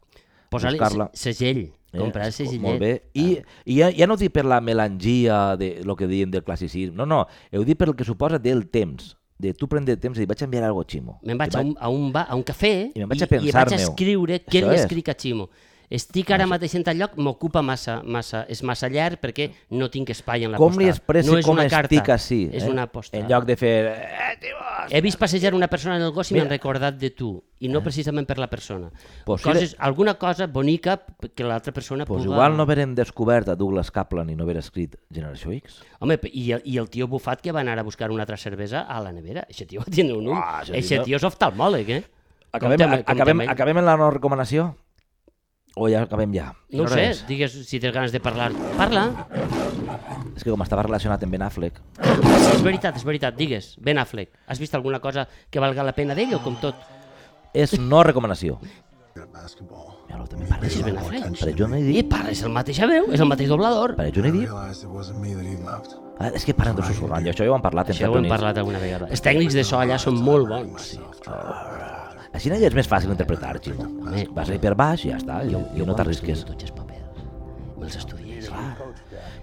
Posar-li
buscar-la.
se- segell, comprar el Ah.
es-
segellet.
Eh, Molt bé. I, i ja, ja no ho dic per la melangia de lo que diem del classicisme, no, no, ho dic per el que suposa del temps, de tu prendre el temps i dir, vaig enviar algo ximo.
Me'n vaig,
I
a un, a, un ba, a un cafè
I me'n vaig a
i vaig
pensar-me-ho.
escriure què
Això
li
és.
escric a Ximo. Estic ara mateix en tal lloc, m'ocupa massa, massa, és massa llarg perquè no tinc espai en la
Com
postal.
li expressi
no és
com
una carta,
estic així?
És
eh?
una posta.
En lloc de fer... Eh, tio,
He vist passejar una persona en el gos i m'han recordat de tu, i no precisament per la persona.
Eh? Pues sí,
Coses, alguna cosa bonica que l'altra persona
pues
puga...
igual no haverem descobert a Douglas Kaplan i no haver escrit Generació X.
Home, i el, i el tio bufat que va anar a buscar una altra cervesa a la nevera. Eixe tio tiene un ull.
Uah, això
Eixe
tio-
tio és oftalmòleg, eh?
Acabem,
Compte amb- compte
acabem,
amb ell.
acabem en la no recomanació? O ja acabem ja?
No ho
Quina
sé,
hora és?
digues si tens ganes de parlar. Parla,
És que com estava relacionat amb Ben Affleck...
és veritat, és veritat, digues. Ben Affleck, has vist alguna cosa que valga la pena d'ell o com tot?
És no recomanació.
basketball.
Mira, també parles
Deixes
de
Ben
Ben Affleck.
Affleck.
Per a Johnny
I
Depp.
parla, és el mateix veu, és el mateix doblador.
Per a Johnny Depp.
Realized it wasn't me that he loved.
Ah, és que parlen de susurrant, i això ja ho hem parlat. entre
Això ho hem
tonins.
parlat alguna vegada. Els tècnics de so allà són molt bons. Sí.
Així no és més fàcil interpretar, Ximo.
Home,
Vas a per baix i ja està, i, i no t'arrisques.
Tots els papers. Me'ls estudies, clar.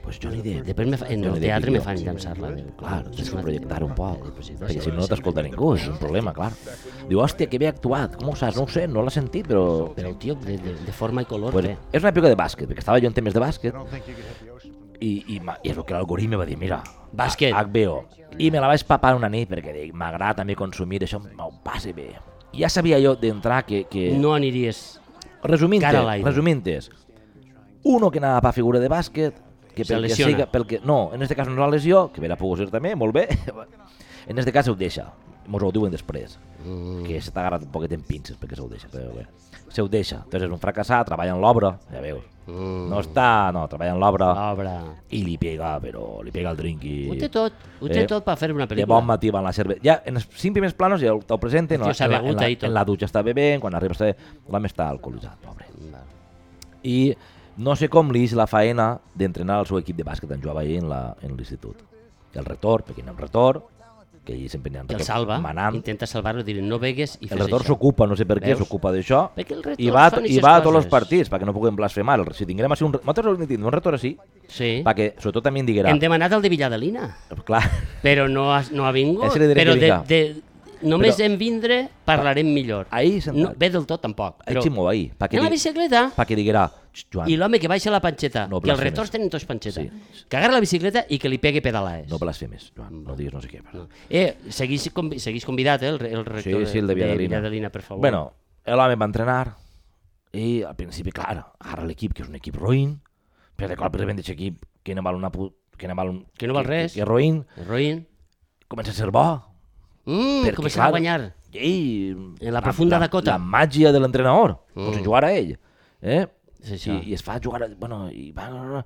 Pues Johnny Depp,
Eh, Després me fa, en
Johnny
el
Depp
teatre
i
me
jo.
fan llançar-la.
Clar, ah, tens que projectar un poc, perquè
Sí,
si no
sí,
no t'escolta ningú, és un problema, clar. Diu, hòstia, que bé ha actuat, com ho saps? No ho sé, no l'ha sentit, però...
Però el tio de, de, de forma i color, eh,
Pues,
bé.
és una època de bàsquet, perquè estava jo en temes de bàsquet, i, i, ma- i és el que l'algoritme va dir, mira,
Bàsquet.
HBO. I me la vaig papar una nit perquè dic, m'agrada també consumir, això m'ho passe bé. I ja sabia jo d'entrar que, que,
No aniries...
Resumint,
Cara a l'aire.
resumint uno que anava per figura de bàsquet, que
Se
pel que
lesiona.
siga, pel que, no, en este cas no és la lesió, que vera pogut ser també, molt bé, en este cas ho deixa, mos ho diuen després, mm. que se t'ha agarrat un poquet en pinces perquè se ho deixa, però bé, se ho deixa, entonces és un fracassat, treballa en l'obra, ja veus, mm. no està, no, treballa en l'obra,
Obra.
i li pega, però li pega el drinqui.
Ho té tot, ho té
Eh,
tot per fer una
De
pel·lícula.
bon matí va en la cervesa. Ja, en els cinc primers planos ja t'ho presenten,
El
en
tio
la,
s'ha
en, la,
begut
en, la,
ahí tot.
en la dutxa està bevent, quan arriba està... l'home està alcoholitzat, pobre. I no sé com li és la faena d'entrenar el seu equip de bàsquet en Joan Vallí en la- en l'institut. El retorn, perquè hi ha un retorn, que allí sempre n'hi ha un
Que el
retorn
salva,
manant.
intenta salvar-lo, dir no begues i
El
fes
retorn
això.
s'ocupa, no sé per què,
Veus?
s'ocupa d'això.
Perquè el retorn
I va,
són
i
ixes
va a tots
coses.
els partits, perquè no puguem blasfemar. El- Si tinguem així un... re- Nosaltres hauríem de tindre un retorn així,
Sí.
perquè sobretot també en diguera...
Hem demanat el de Villadelina,
Clar,
però no ha, no ha vingut.
Ese li diré
Però
que
de,
vinga.
de, només
Però-
en vindre parlarem millor.
ahir
No,
sentat.
bé del tot, tampoc.
Però...
Però
Ximo, ahir, perquè,
anem a la
digui,
bicicleta
perquè diguera, "Xt, Joan,
i l'home que baixa la panxeta,
No
que els
blasfemes.
retors tenen tots panxeta,
Sí.
que agarra la bicicleta i que li pegui pedalades.
no blasfemes, Joan, no diguis no sé què. Però...
Eh, seguís, convi seguís convidat, eh, el, re- el
Sí,
rector
sí, el de Villadelina.
Villadelina, per favor.
Bueno, l'home va entrenar i al principi, clar, agarra l'equip, que és un equip roïn, però de cop de repente aquest equip que no val una put... que no val, un...
Que no val res.
Que, que, roïn,
Roïn.
comença a ser bo.
Mm,
Perquè,
començarà a
clar,
guanyar.
I...
En la profunda Dakota.
La, màgia de l'entrenador, mm. com si jugara ell. Eh?
És
I,
això.
I es fa jugar, a- bueno, i, va,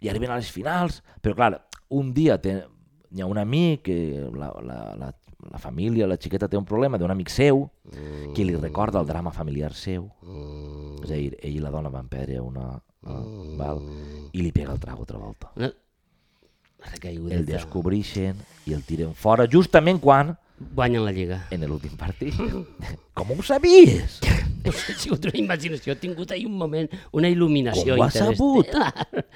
i arriben a les finals, però clar, un dia té, hi ha un amic, que la, la, la, la família, la xiqueta té un problema d'un amic seu, que li recorda el drama familiar seu, és a dir, ell i la dona van perdre una... Uh, val, i li pega el trago otra volta.
Una... Recaiguda.
El descobreixen i el tiren fora justament quan,
Guanyen la Lliga.
en l'últim partit. Com ho sabies?
No sé, ha sigut una imaginació, he tingut ahir un moment, una il·luminació
Com ho has sabut?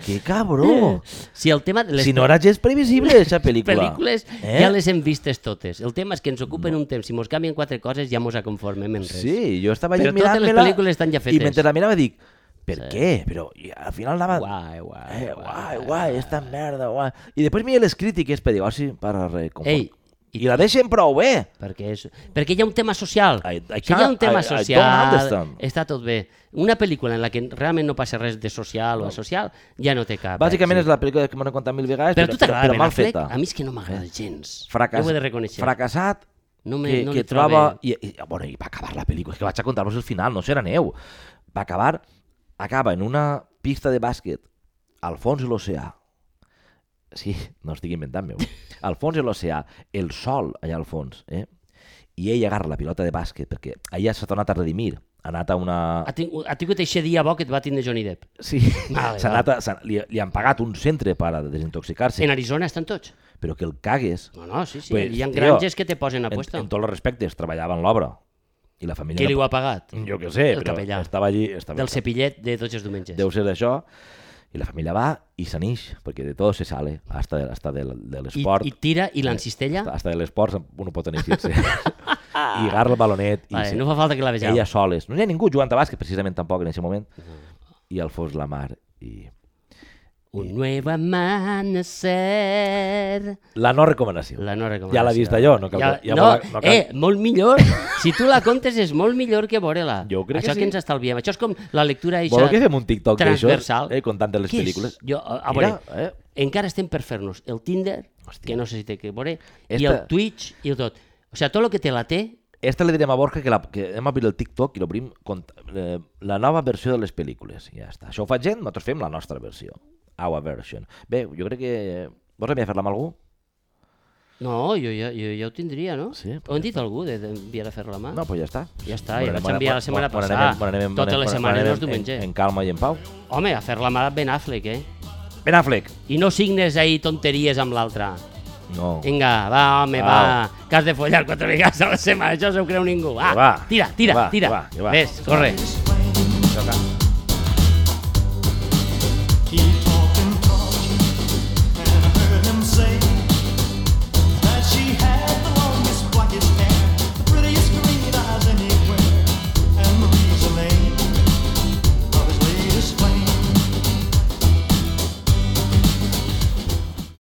Que cabró!
No. Si el tema... de Les
Si no era gens previsible, aquesta pel·lícula.
pel·lícules eh? ja les hem vistes totes. El tema és que ens ocupen no. un temps. Si mos canvien quatre coses ja mos aconformem en res.
Sí, jo estava
Però
allà
totes les
mirant-me-la
pel·lícules estan ja fetes.
I mentre la mirava dic, per sí. què? Però i al final anava...
Guai, guai,
Eh, guai, guai, esta merda, guai. I després mira les crítiques per dir, oh, sí, per reconformar.
Ei,
I, la deixen prou bé.
Perquè, és, perquè hi ha un tema social.
I- I
si hi ha un
can't-
tema
I- I don't
social,
understand.
està tot bé. Una pel·lícula en la que realment no passa res de social o asocial, ja no té cap.
Bàsicament
èxit.
és la pel·lícula que m'han contat mil vegades,
Però a tu t'agrada
però,
Ben
mal
Affleck?
feta.
A mi és que no m'agrada gens.
Fracass...
Jo ho he de reconèixer.
Fracassat,
No me-
que,
no li
que
trobe-
troba... I, i, bueno, I va acabar la pel·lícula, és que vaig a contar-vos el final, no serà neu. Va acabar, acaba en una pista de bàsquet, al fons de l'oceà. Sí, no estic inventant-me. ho. Al fons de l'oceà, el sol allà al fons, eh? I ell agarra la pilota de bàsquet, perquè allà s'ha tornat a redimir. Ha anat a una...
Ha, tingut, ha tingut eixe dia bo que et va tindre Johnny Depp.
Sí,
Vale,
s'ha anat a, s'ha- li, li han pagat un centre per a desintoxicar-se,
En Arizona estan tots.
però que el cagues
No, no, sí, sí.
Pues,
Hi ha
tio,
granges que te posen a
en,
puesto.
en tots els respectes, treballava en l'obra. I la família...
Qui
no-
li ho ha pagat?
Jo què sé,
El
però
capellà.
estava allí... Estava
Del cepillet de tots els diumenges.
Deu ser d'això. I la família va i se n'ix, perquè de tot se sale, hasta de, hasta de, de
I,
l'esport.
I tira i l'encistella.
Hasta de l'esport uno pot eneixir-se. I agarra el balonet. I
Vale,
se-
no fa falta que la vegeu. Mm.
ella soles. No hi ha ningú jugant a bàsquet, precisament, tampoc, en aquest moment. i Alfons Lamar. I...
Un nuevo amanecer.
La no recomanació.
La no recomanació.
Ja l'ha vist allò, no cal- ja
no,
me la- no cal-
eh, molt millor. Si tu la comptes és molt millor que veure-la.
Jo crec que
Això
sí.
que ens estalviem. Això és com la lectura eixa
Voleu que fem un TikTok d'això?
transversal.
Eh, contant les
Què és?
pel·lícules.
Jo, a, a veure,
Mira, eh?
encara estem per fer-nos el Tinder, que no sé si té que veure, i
Esta-
el Twitch i el tot. O sigui, tot el que té la té,
Esta li direm a Borja que, la, que hem abrit el TikTok i l'obrim cont- eh, la nova versió de les pel·lícules. I ja està. Això ho fa gent, nosaltres fem la nostra versió. Our version. Bé, jo crec que... eh, Vols enviar a fer-la amb algú?
no, jo ja, jo, ja ho tindria, no?
Sí,
Ho hem dit a algú de- d'enviar a fer la mà?
No, doncs ja està.
Ja està, ja vaig enviar la setmana
Bon,
passada.
bon, anem,
Totes les setmanes, no és
anem
diumenge.
En, en calma i en pau.
Home, a fer la mà Ben Affleck, eh?
Ben Affleck.
I no signes ahir tonteries amb l'altra.
No.
Vinga, va, home, va.
Au.
Que has de follar quatre vegades a la setmana, això no se ho creu ningú. Va,
Que va,
tira,
que
tira,
va,
tira.
que va, que va.
Ves, corre.
Vinga.
Keep